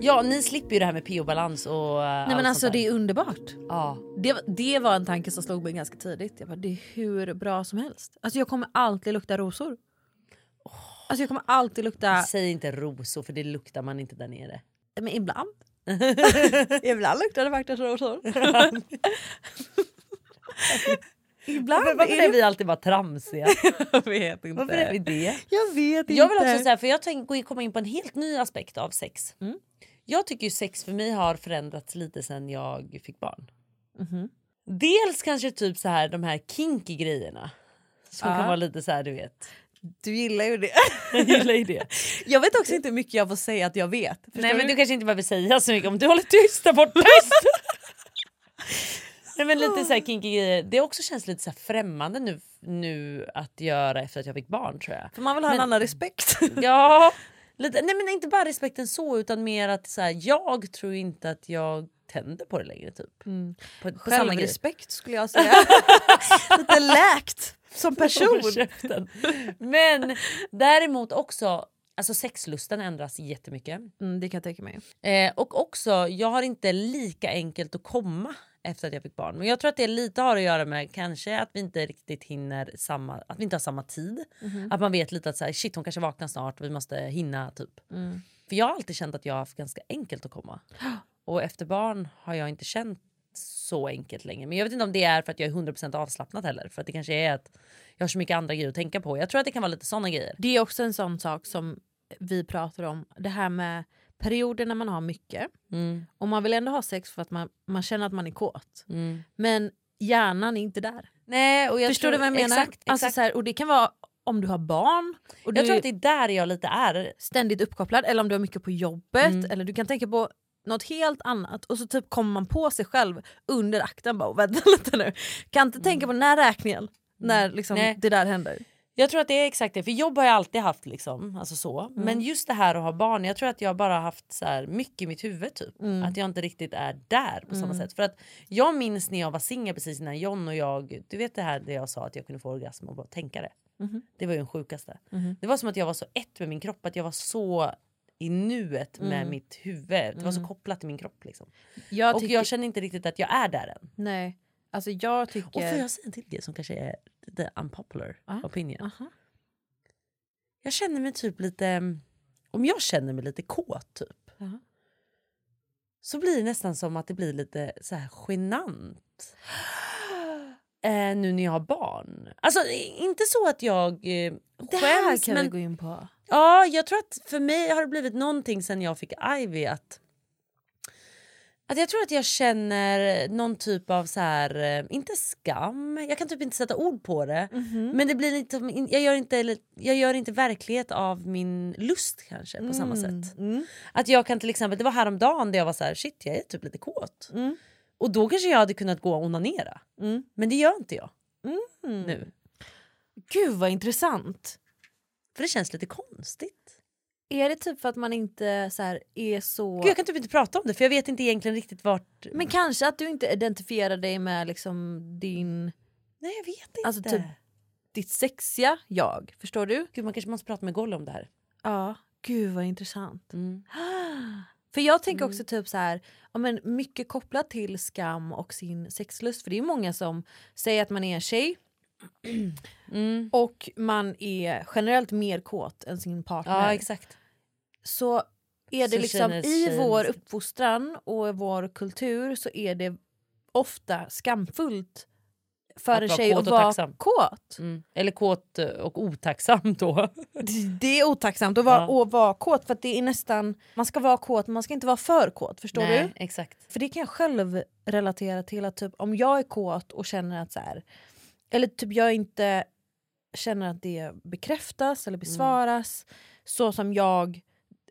[SPEAKER 1] ja, ni slipper ju det här med pH-balans och eh,
[SPEAKER 4] Nej men
[SPEAKER 1] allt
[SPEAKER 4] alltså
[SPEAKER 1] sånt där.
[SPEAKER 4] det är underbart.
[SPEAKER 1] Ja.
[SPEAKER 4] Det, var- det var en tanke som slog mig ganska tidigt. Jag bara, det är hur bra som helst. Alltså jag kommer alltid lukta rosor. Alltså jag kommer alltid lukta...
[SPEAKER 1] Säg inte rosor för det luktar man inte där nere.
[SPEAKER 4] Men ibland. ibland luktar det faktiskt rosor. ibland
[SPEAKER 1] Varför
[SPEAKER 4] är det...
[SPEAKER 1] är vi alltid bara tramsiga?
[SPEAKER 4] Jag vet inte.
[SPEAKER 1] Varför är vi det?
[SPEAKER 4] Jag vet inte.
[SPEAKER 1] Jag vill också säga, för jag tänk, gå in- komma in på en helt ny aspekt av sex.
[SPEAKER 4] Mm.
[SPEAKER 1] Jag tycker ju sex för mig har förändrats lite sen jag fick barn.
[SPEAKER 4] Mhm.
[SPEAKER 1] Dels kanske typ så här de här kinky grejerna. Som
[SPEAKER 4] Ja.
[SPEAKER 1] kan vara lite så här du vet.
[SPEAKER 4] Du gillar ju det.
[SPEAKER 1] Jag gillar ju det.
[SPEAKER 4] Jag vet också inte hur mycket jag får säga att jag vet. Förstår
[SPEAKER 1] Nej men du kanske inte behöver säga så mycket om du håller tyst där borta. Tyst! Nej men lite så här kinky grejer. Det också känns lite så här främmande nu, nu att göra efter att jag fick barn tror jag.
[SPEAKER 4] För man vill ha
[SPEAKER 1] Men-
[SPEAKER 4] en annan respekt.
[SPEAKER 1] Ja, lite, nej men inte bara respekten så utan mer att så här, jag tror inte att jag tänder på det längre typ.
[SPEAKER 4] Mm.
[SPEAKER 1] På, på samma grej.
[SPEAKER 4] Självrespekt skulle jag säga. Oh, Lite läkt som person.
[SPEAKER 1] På käften. Men däremot också, alltså sexlusten ändras jättemycket.
[SPEAKER 4] Mm, det kan jag tänka mig.
[SPEAKER 1] Eh, och också, jag har inte lika enkelt att komma efter att jag fick barn. Men jag tror att det lite har att göra med kanske att vi inte riktigt hinner samma, att vi inte har samma tid.
[SPEAKER 4] Mhm.
[SPEAKER 1] Att man vet lite att så här, shit hon kanske vaknar snart vi måste hinna typ.
[SPEAKER 4] Mm.
[SPEAKER 1] För jag har alltid känt att jag har haft ganska enkelt att komma. Och efter barn har jag inte känt så enkelt längre. Men jag vet inte om det är för att jag är 100% avslappnad heller. För att det kanske är att jag har så mycket andra grejer att tänka på. Jag tror att det kan vara lite såna grejer.
[SPEAKER 4] Det är också en sån sak som vi pratar om. Det här med perioder när man har mycket.
[SPEAKER 1] Mm.
[SPEAKER 4] Och man vill ändå ha sex för att man, man känner att man är kåt.
[SPEAKER 1] Mm.
[SPEAKER 4] Men hjärnan är inte där.
[SPEAKER 1] Nej, och jag
[SPEAKER 4] Förstår
[SPEAKER 1] tror,
[SPEAKER 4] du vad jag menar?
[SPEAKER 1] Exakt, exakt.
[SPEAKER 4] Alltså så här, och det kan vara om du har barn. Och du
[SPEAKER 1] jag tror att det är där jag lite är.
[SPEAKER 4] ständigt uppkopplad eller om du har mycket på jobbet
[SPEAKER 1] Mm.
[SPEAKER 4] eller du kan tänka på något helt annat och så typ kommer man på sig själv under akten bara "Och vänta lite nu. Kan inte tänka på den här räkningen när liksom
[SPEAKER 1] Mm. Nej.
[SPEAKER 4] det där händer.
[SPEAKER 1] Jag tror att det är exakt det. För jobb har jag alltid haft liksom. Alltså så.
[SPEAKER 4] Mm.
[SPEAKER 1] Men just det här att ha barn. Jag tror att jag bara har haft så här mycket i mitt huvud typ.
[SPEAKER 4] Mm.
[SPEAKER 1] Att jag inte riktigt är där på samma
[SPEAKER 4] Mm.
[SPEAKER 1] sätt. För att jag minns när jag var singel precis innan John och jag. Du vet det här där jag sa att jag kunde få orgasm och bara tänka det.
[SPEAKER 4] Mhm.
[SPEAKER 1] Det var ju den sjukaste.
[SPEAKER 4] Mhm.
[SPEAKER 1] Det var som att jag var så ett med min kropp. Att jag var så i nuet med
[SPEAKER 4] Mm.
[SPEAKER 1] mitt huvud. Det var så
[SPEAKER 4] Mm.
[SPEAKER 1] kopplat till min kropp liksom.
[SPEAKER 4] Jag
[SPEAKER 1] och
[SPEAKER 4] tycker,
[SPEAKER 1] jag känner inte riktigt att jag är där än.
[SPEAKER 4] nej, alltså jag
[SPEAKER 1] Och
[SPEAKER 4] tycker...
[SPEAKER 1] får jag säga en till grej som kanske är the unpopular
[SPEAKER 4] Ja.
[SPEAKER 1] opinion.
[SPEAKER 4] Aha.
[SPEAKER 1] Jag känner mig typ lite... Om jag känner mig lite kåt typ.
[SPEAKER 4] Jaha.
[SPEAKER 1] Så blir det nästan som att det blir lite så här genant. Eh, nu när jag har barn. Alltså i- inte så att jag eh,
[SPEAKER 4] Det här
[SPEAKER 1] skäms
[SPEAKER 4] kan vi
[SPEAKER 1] men
[SPEAKER 4] gå in på.
[SPEAKER 1] ja, jag tror att för mig har det blivit någonting sen jag fick Ivy att att jag tror att jag känner någon typ av så här, eh, inte skam, jag kan typ inte sätta ord på det.
[SPEAKER 4] Mhm.
[SPEAKER 1] Men det blir lite, som- jag, gör inte, jag gör inte verklighet av min lust kanske på samma
[SPEAKER 4] Mm,
[SPEAKER 1] sätt.
[SPEAKER 4] mm.
[SPEAKER 1] Att jag kan till exempel, det var häromdagen där jag var så här, shit jag är typ lite kåt.
[SPEAKER 4] Mm.
[SPEAKER 1] Och då kanske jag hade kunnat gå och onanera.
[SPEAKER 4] Mm.
[SPEAKER 1] Men det gör inte jag
[SPEAKER 4] Mm.
[SPEAKER 1] nu.
[SPEAKER 4] Gud vad intressant.
[SPEAKER 1] För det känns lite konstigt.
[SPEAKER 4] Är det typ för att man inte så här, är så...
[SPEAKER 1] Gud, jag kan typ inte prata om det för jag vet inte egentligen riktigt vart...
[SPEAKER 4] Men kanske att du inte identifierar dig med liksom din,
[SPEAKER 1] Nej jag vet inte.
[SPEAKER 4] alltså typ ditt sexiga jag. Förstår du?
[SPEAKER 1] Gud man kanske måste prata med Golle om det här.
[SPEAKER 4] Ja, gud vad intressant. Mm. För jag tänker också typ så här, ja, men mycket kopplat till skam och sin sexlust. För det är många som säger att man är en tjej
[SPEAKER 1] Mm.
[SPEAKER 4] och man är generellt mer kåt än sin partner.
[SPEAKER 1] Ja exakt.
[SPEAKER 4] så är det
[SPEAKER 1] Så
[SPEAKER 4] liksom
[SPEAKER 1] känner
[SPEAKER 4] i
[SPEAKER 1] tjejen
[SPEAKER 4] vår
[SPEAKER 1] sig-
[SPEAKER 4] uppfostran och i vår kultur så är det ofta skamfullt för
[SPEAKER 1] Att
[SPEAKER 4] en
[SPEAKER 1] vara
[SPEAKER 4] tjej
[SPEAKER 1] kåt
[SPEAKER 4] att
[SPEAKER 1] och
[SPEAKER 4] vara
[SPEAKER 1] tacksam.
[SPEAKER 4] kåt.
[SPEAKER 1] Mm. Eller kåt eh, och otacksam då.
[SPEAKER 4] Det- Det är otacksamt att vara,
[SPEAKER 1] Ja.
[SPEAKER 4] att vara kåt för att det är nästan, man ska vara kåt men man ska inte vara för kåt. Förstår
[SPEAKER 1] Nej,
[SPEAKER 4] du?
[SPEAKER 1] exakt.
[SPEAKER 4] För det kan jag själv relatera till att typ, om jag är kåt och känner att så här, eller typ jag inte känner att det bekräftas
[SPEAKER 1] Mm.
[SPEAKER 4] eller besvaras så som jag,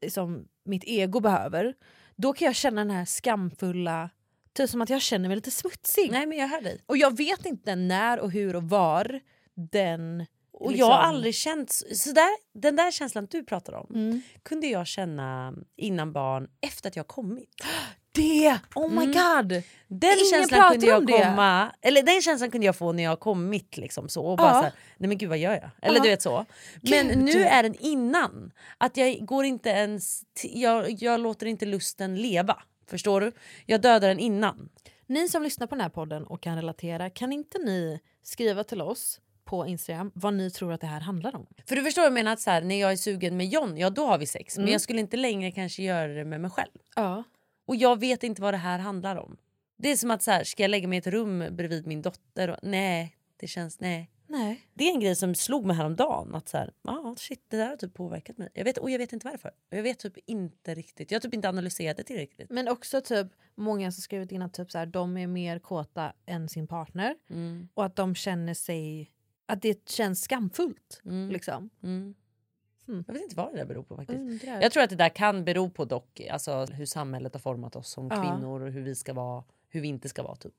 [SPEAKER 4] som mitt ego behöver, då kan jag känna den här skamfulla, typ som att jag känner mig lite smutsig.
[SPEAKER 1] Nej men jag hör dig.
[SPEAKER 4] Och jag vet inte när och hur och var den...
[SPEAKER 1] Och
[SPEAKER 4] liksom-
[SPEAKER 1] jag har aldrig känt så så där, den där känslan du pratar om
[SPEAKER 4] Mm.
[SPEAKER 1] kunde jag känna innan barn efter att jag kommit.
[SPEAKER 4] Det! Oh my
[SPEAKER 1] Mm.
[SPEAKER 4] god!
[SPEAKER 1] Den
[SPEAKER 4] Ingen
[SPEAKER 1] känslan
[SPEAKER 4] pratar
[SPEAKER 1] kunde jag
[SPEAKER 4] om det.
[SPEAKER 1] komma, eller den känslan kunde jag få när jag kommit liksom så och bara
[SPEAKER 4] Ja.
[SPEAKER 1] så här, nej men gud vad gör jag? Eller
[SPEAKER 4] Ja.
[SPEAKER 1] du vet så. Men
[SPEAKER 4] Gud.
[SPEAKER 1] nu är den innan att jag går inte ens t- jag, jag låter inte lusten leva. Förstår du? Jag dödar den innan.
[SPEAKER 4] Ni som lyssnar på den här podden och kan relatera, kan inte ni skriva till oss på Instagram vad ni tror att det här handlar om?
[SPEAKER 1] För du förstår vad jag menar att så här, när jag är sugen med John, ja då har vi sex.
[SPEAKER 4] Mm.
[SPEAKER 1] Men jag skulle inte längre kanske göra det med mig själv.
[SPEAKER 4] Ja.
[SPEAKER 1] Och jag vet inte vad det här handlar om. Det är som att så här, ska jag lägga mig i ett rum bredvid min dotter? Och, nej, det känns nej.
[SPEAKER 4] Nej.
[SPEAKER 1] Det är en grej som slog mig häromdagen. Att så här, ah, shit, det där har typ påverkat mig. Jag vet, och jag vet inte varför. Och Jag vet typ inte riktigt. Jag har typ inte analyserat det tillräckligt.
[SPEAKER 4] Men också typ många som skrivit
[SPEAKER 1] Mm.
[SPEAKER 4] in att typ så här, de är mer kåta än sin partner och att de känner sig att det känns skamfullt.
[SPEAKER 1] Mm.
[SPEAKER 4] Liksom.
[SPEAKER 1] Jag vet inte vad det där beror på faktiskt.
[SPEAKER 4] Mm. Undrar.
[SPEAKER 1] Jag tror att det där kan bero på dock alltså, hur samhället har format oss som
[SPEAKER 4] Ja.
[SPEAKER 1] kvinnor och hur vi ska vara, hur vi inte ska vara typ.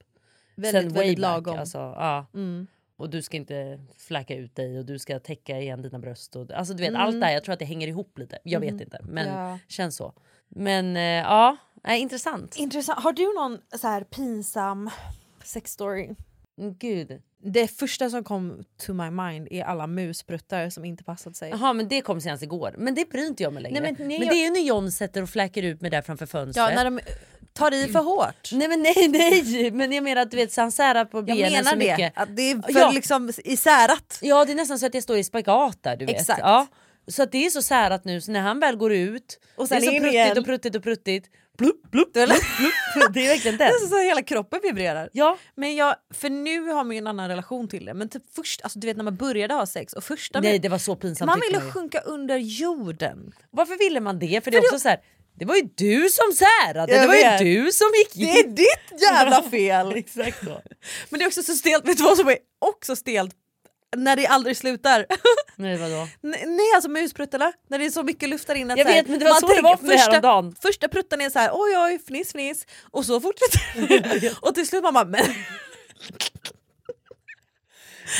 [SPEAKER 4] Väldigt,
[SPEAKER 1] Sen way
[SPEAKER 4] väldigt
[SPEAKER 1] back,
[SPEAKER 4] lagom.
[SPEAKER 1] Alltså, ja.
[SPEAKER 4] Mm.
[SPEAKER 1] Och du ska inte fläcka ut dig och du ska täcka igen dina bröst. Och, alltså du vet
[SPEAKER 4] Mm.
[SPEAKER 1] allt det här, jag tror att det hänger ihop lite. Jag
[SPEAKER 4] Mm.
[SPEAKER 1] vet inte men
[SPEAKER 4] Ja.
[SPEAKER 1] känns så. Men eh, ja, nej, intressant.
[SPEAKER 4] Intressant. Har du någon så här pinsam sexstory?
[SPEAKER 1] Mm, Gud.
[SPEAKER 4] Det första som kom to my mind är alla muspruttar som inte passat sig.
[SPEAKER 1] Jaha men det kom senast igår. Men det bryr inte jag mig längre.
[SPEAKER 4] Nej, men
[SPEAKER 1] men,
[SPEAKER 4] nej,
[SPEAKER 1] det
[SPEAKER 4] jag-
[SPEAKER 1] är ju när John sätter och fläker ut mig där framför fönstret.
[SPEAKER 4] Ja, när de tar i för hårt.
[SPEAKER 1] Nej men nej nej men jag menar att du vet så han särar på benen
[SPEAKER 4] menar
[SPEAKER 1] så
[SPEAKER 4] det.
[SPEAKER 1] mycket.
[SPEAKER 4] Att det är för
[SPEAKER 1] ja.
[SPEAKER 4] liksom isärat.
[SPEAKER 1] ja det är nästan så att jag står i spagat där du vet.
[SPEAKER 4] Exakt.
[SPEAKER 1] Ja. Så att det är så särat nu så när han väl går ut
[SPEAKER 4] Och sen
[SPEAKER 1] det är så
[SPEAKER 4] in
[SPEAKER 1] pruttigt
[SPEAKER 4] igen.
[SPEAKER 1] och pruttigt och pruttigt. Blupp, blupp, blupp, blupp. Det är verkligen
[SPEAKER 4] Det
[SPEAKER 1] den.
[SPEAKER 4] är liksom så att hela kroppen vibrerar.
[SPEAKER 1] Ja.
[SPEAKER 4] Men jag, för nu har man ju en annan relation till det. Men typ först, alltså du vet när man började ha sex och första...
[SPEAKER 1] Nej det var så pinsamt.
[SPEAKER 4] man
[SPEAKER 1] tyckte
[SPEAKER 4] ville
[SPEAKER 1] ju.
[SPEAKER 4] sjunka under jorden.
[SPEAKER 1] Varför ville man det? För det är också så här, det var ju du som särade, det var
[SPEAKER 4] vet.
[SPEAKER 1] ju du som gick in.
[SPEAKER 4] Det är ditt jävla fel!
[SPEAKER 1] Exakt så.
[SPEAKER 4] Men det är också så stelt, vet du vad som är också stelt? När det aldrig slutar.
[SPEAKER 1] Nej vadå?
[SPEAKER 4] Nej, nej alltså muspruttarna, när det är så mycket luft där inne. att
[SPEAKER 1] Jag
[SPEAKER 4] så här,
[SPEAKER 1] vet, men det var
[SPEAKER 4] man
[SPEAKER 1] så det
[SPEAKER 4] tänker-
[SPEAKER 1] var för mig häromdagen.
[SPEAKER 4] Första pruttan är så här oj oj fniss fniss och så fortsätter det. och till slut man bara men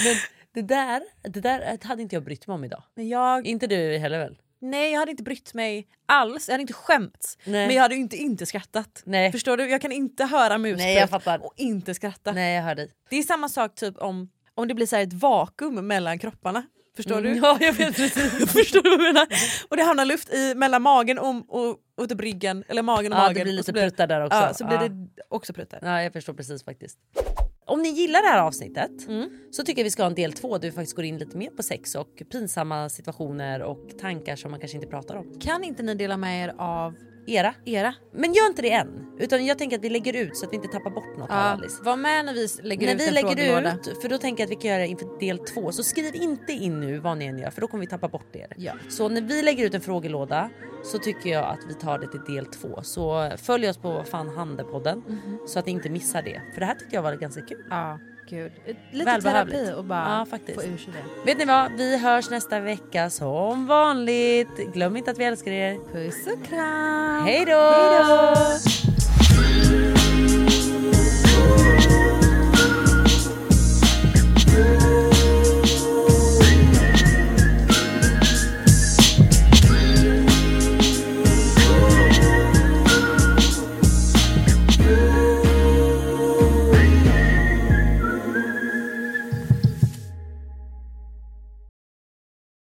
[SPEAKER 1] Men det där, det där hade inte jag brytt mig om idag.
[SPEAKER 4] Men jag,
[SPEAKER 1] Inte du heller väl?
[SPEAKER 4] nej jag hade inte brytt mig alls, jag hade inte skämts
[SPEAKER 1] Nej.
[SPEAKER 4] men jag hade ju inte inte skrattat.
[SPEAKER 1] Nej.
[SPEAKER 4] Förstår du? Jag kan inte höra
[SPEAKER 1] Nej, jag
[SPEAKER 4] musprutt
[SPEAKER 1] fattar.
[SPEAKER 4] och inte skratta.
[SPEAKER 1] Nej jag hör dig.
[SPEAKER 4] Det är samma sak typ om, om det blir så här ett vakuum mellan kropparna. Förstår du?
[SPEAKER 1] Mm. Ja jag vet precis.
[SPEAKER 4] Förstår du vad jag menar? Och det hamnar luft i mellan magen och, och, och typ ryggen, eller magen och
[SPEAKER 1] Ja, det
[SPEAKER 4] magen.
[SPEAKER 1] blir
[SPEAKER 4] och
[SPEAKER 1] lite
[SPEAKER 4] så
[SPEAKER 1] pruttar där också.
[SPEAKER 4] Ja, så blir
[SPEAKER 1] Ja.
[SPEAKER 4] det också pruttar.
[SPEAKER 1] Ja, jag förstår precis faktiskt. Om ni gillar det här avsnittet
[SPEAKER 4] Mm.
[SPEAKER 1] så tycker jag vi ska ha en del två där vi faktiskt går in lite mer på sex och pinsamma situationer och tankar som man kanske inte pratar om.
[SPEAKER 4] Kan inte ni dela med er av
[SPEAKER 1] Era.
[SPEAKER 4] era?
[SPEAKER 1] Men gör inte det än. Utan jag tänker att vi lägger ut så att vi inte tappar bort något här Alice.
[SPEAKER 4] var med när vi lägger
[SPEAKER 1] När
[SPEAKER 4] ut
[SPEAKER 1] vi
[SPEAKER 4] en
[SPEAKER 1] lägger
[SPEAKER 4] frågelåda.
[SPEAKER 1] ut, för då tänker jag att vi kan göra det inför del två. Så skriv inte in nu vad ni än gör för då kommer vi tappa bort er.
[SPEAKER 4] Ja.
[SPEAKER 1] Så när vi lägger ut en frågelåda så tycker jag att vi tar det till del två. Så följ oss på vad fan handelpodden
[SPEAKER 4] Mhm.
[SPEAKER 1] så att ni inte missar det. För det här tyckte jag var ganska kul.
[SPEAKER 4] Ja, gud. Lite
[SPEAKER 1] Välbehövligt.
[SPEAKER 4] terapi och bara
[SPEAKER 1] Ja, faktiskt.
[SPEAKER 4] få ur sig det.
[SPEAKER 1] Vet ni vad? Vi hörs nästa vecka som vanligt. Glöm inte att vi älskar er.
[SPEAKER 4] Puss och kram!
[SPEAKER 1] Hej då!
[SPEAKER 4] Hej då!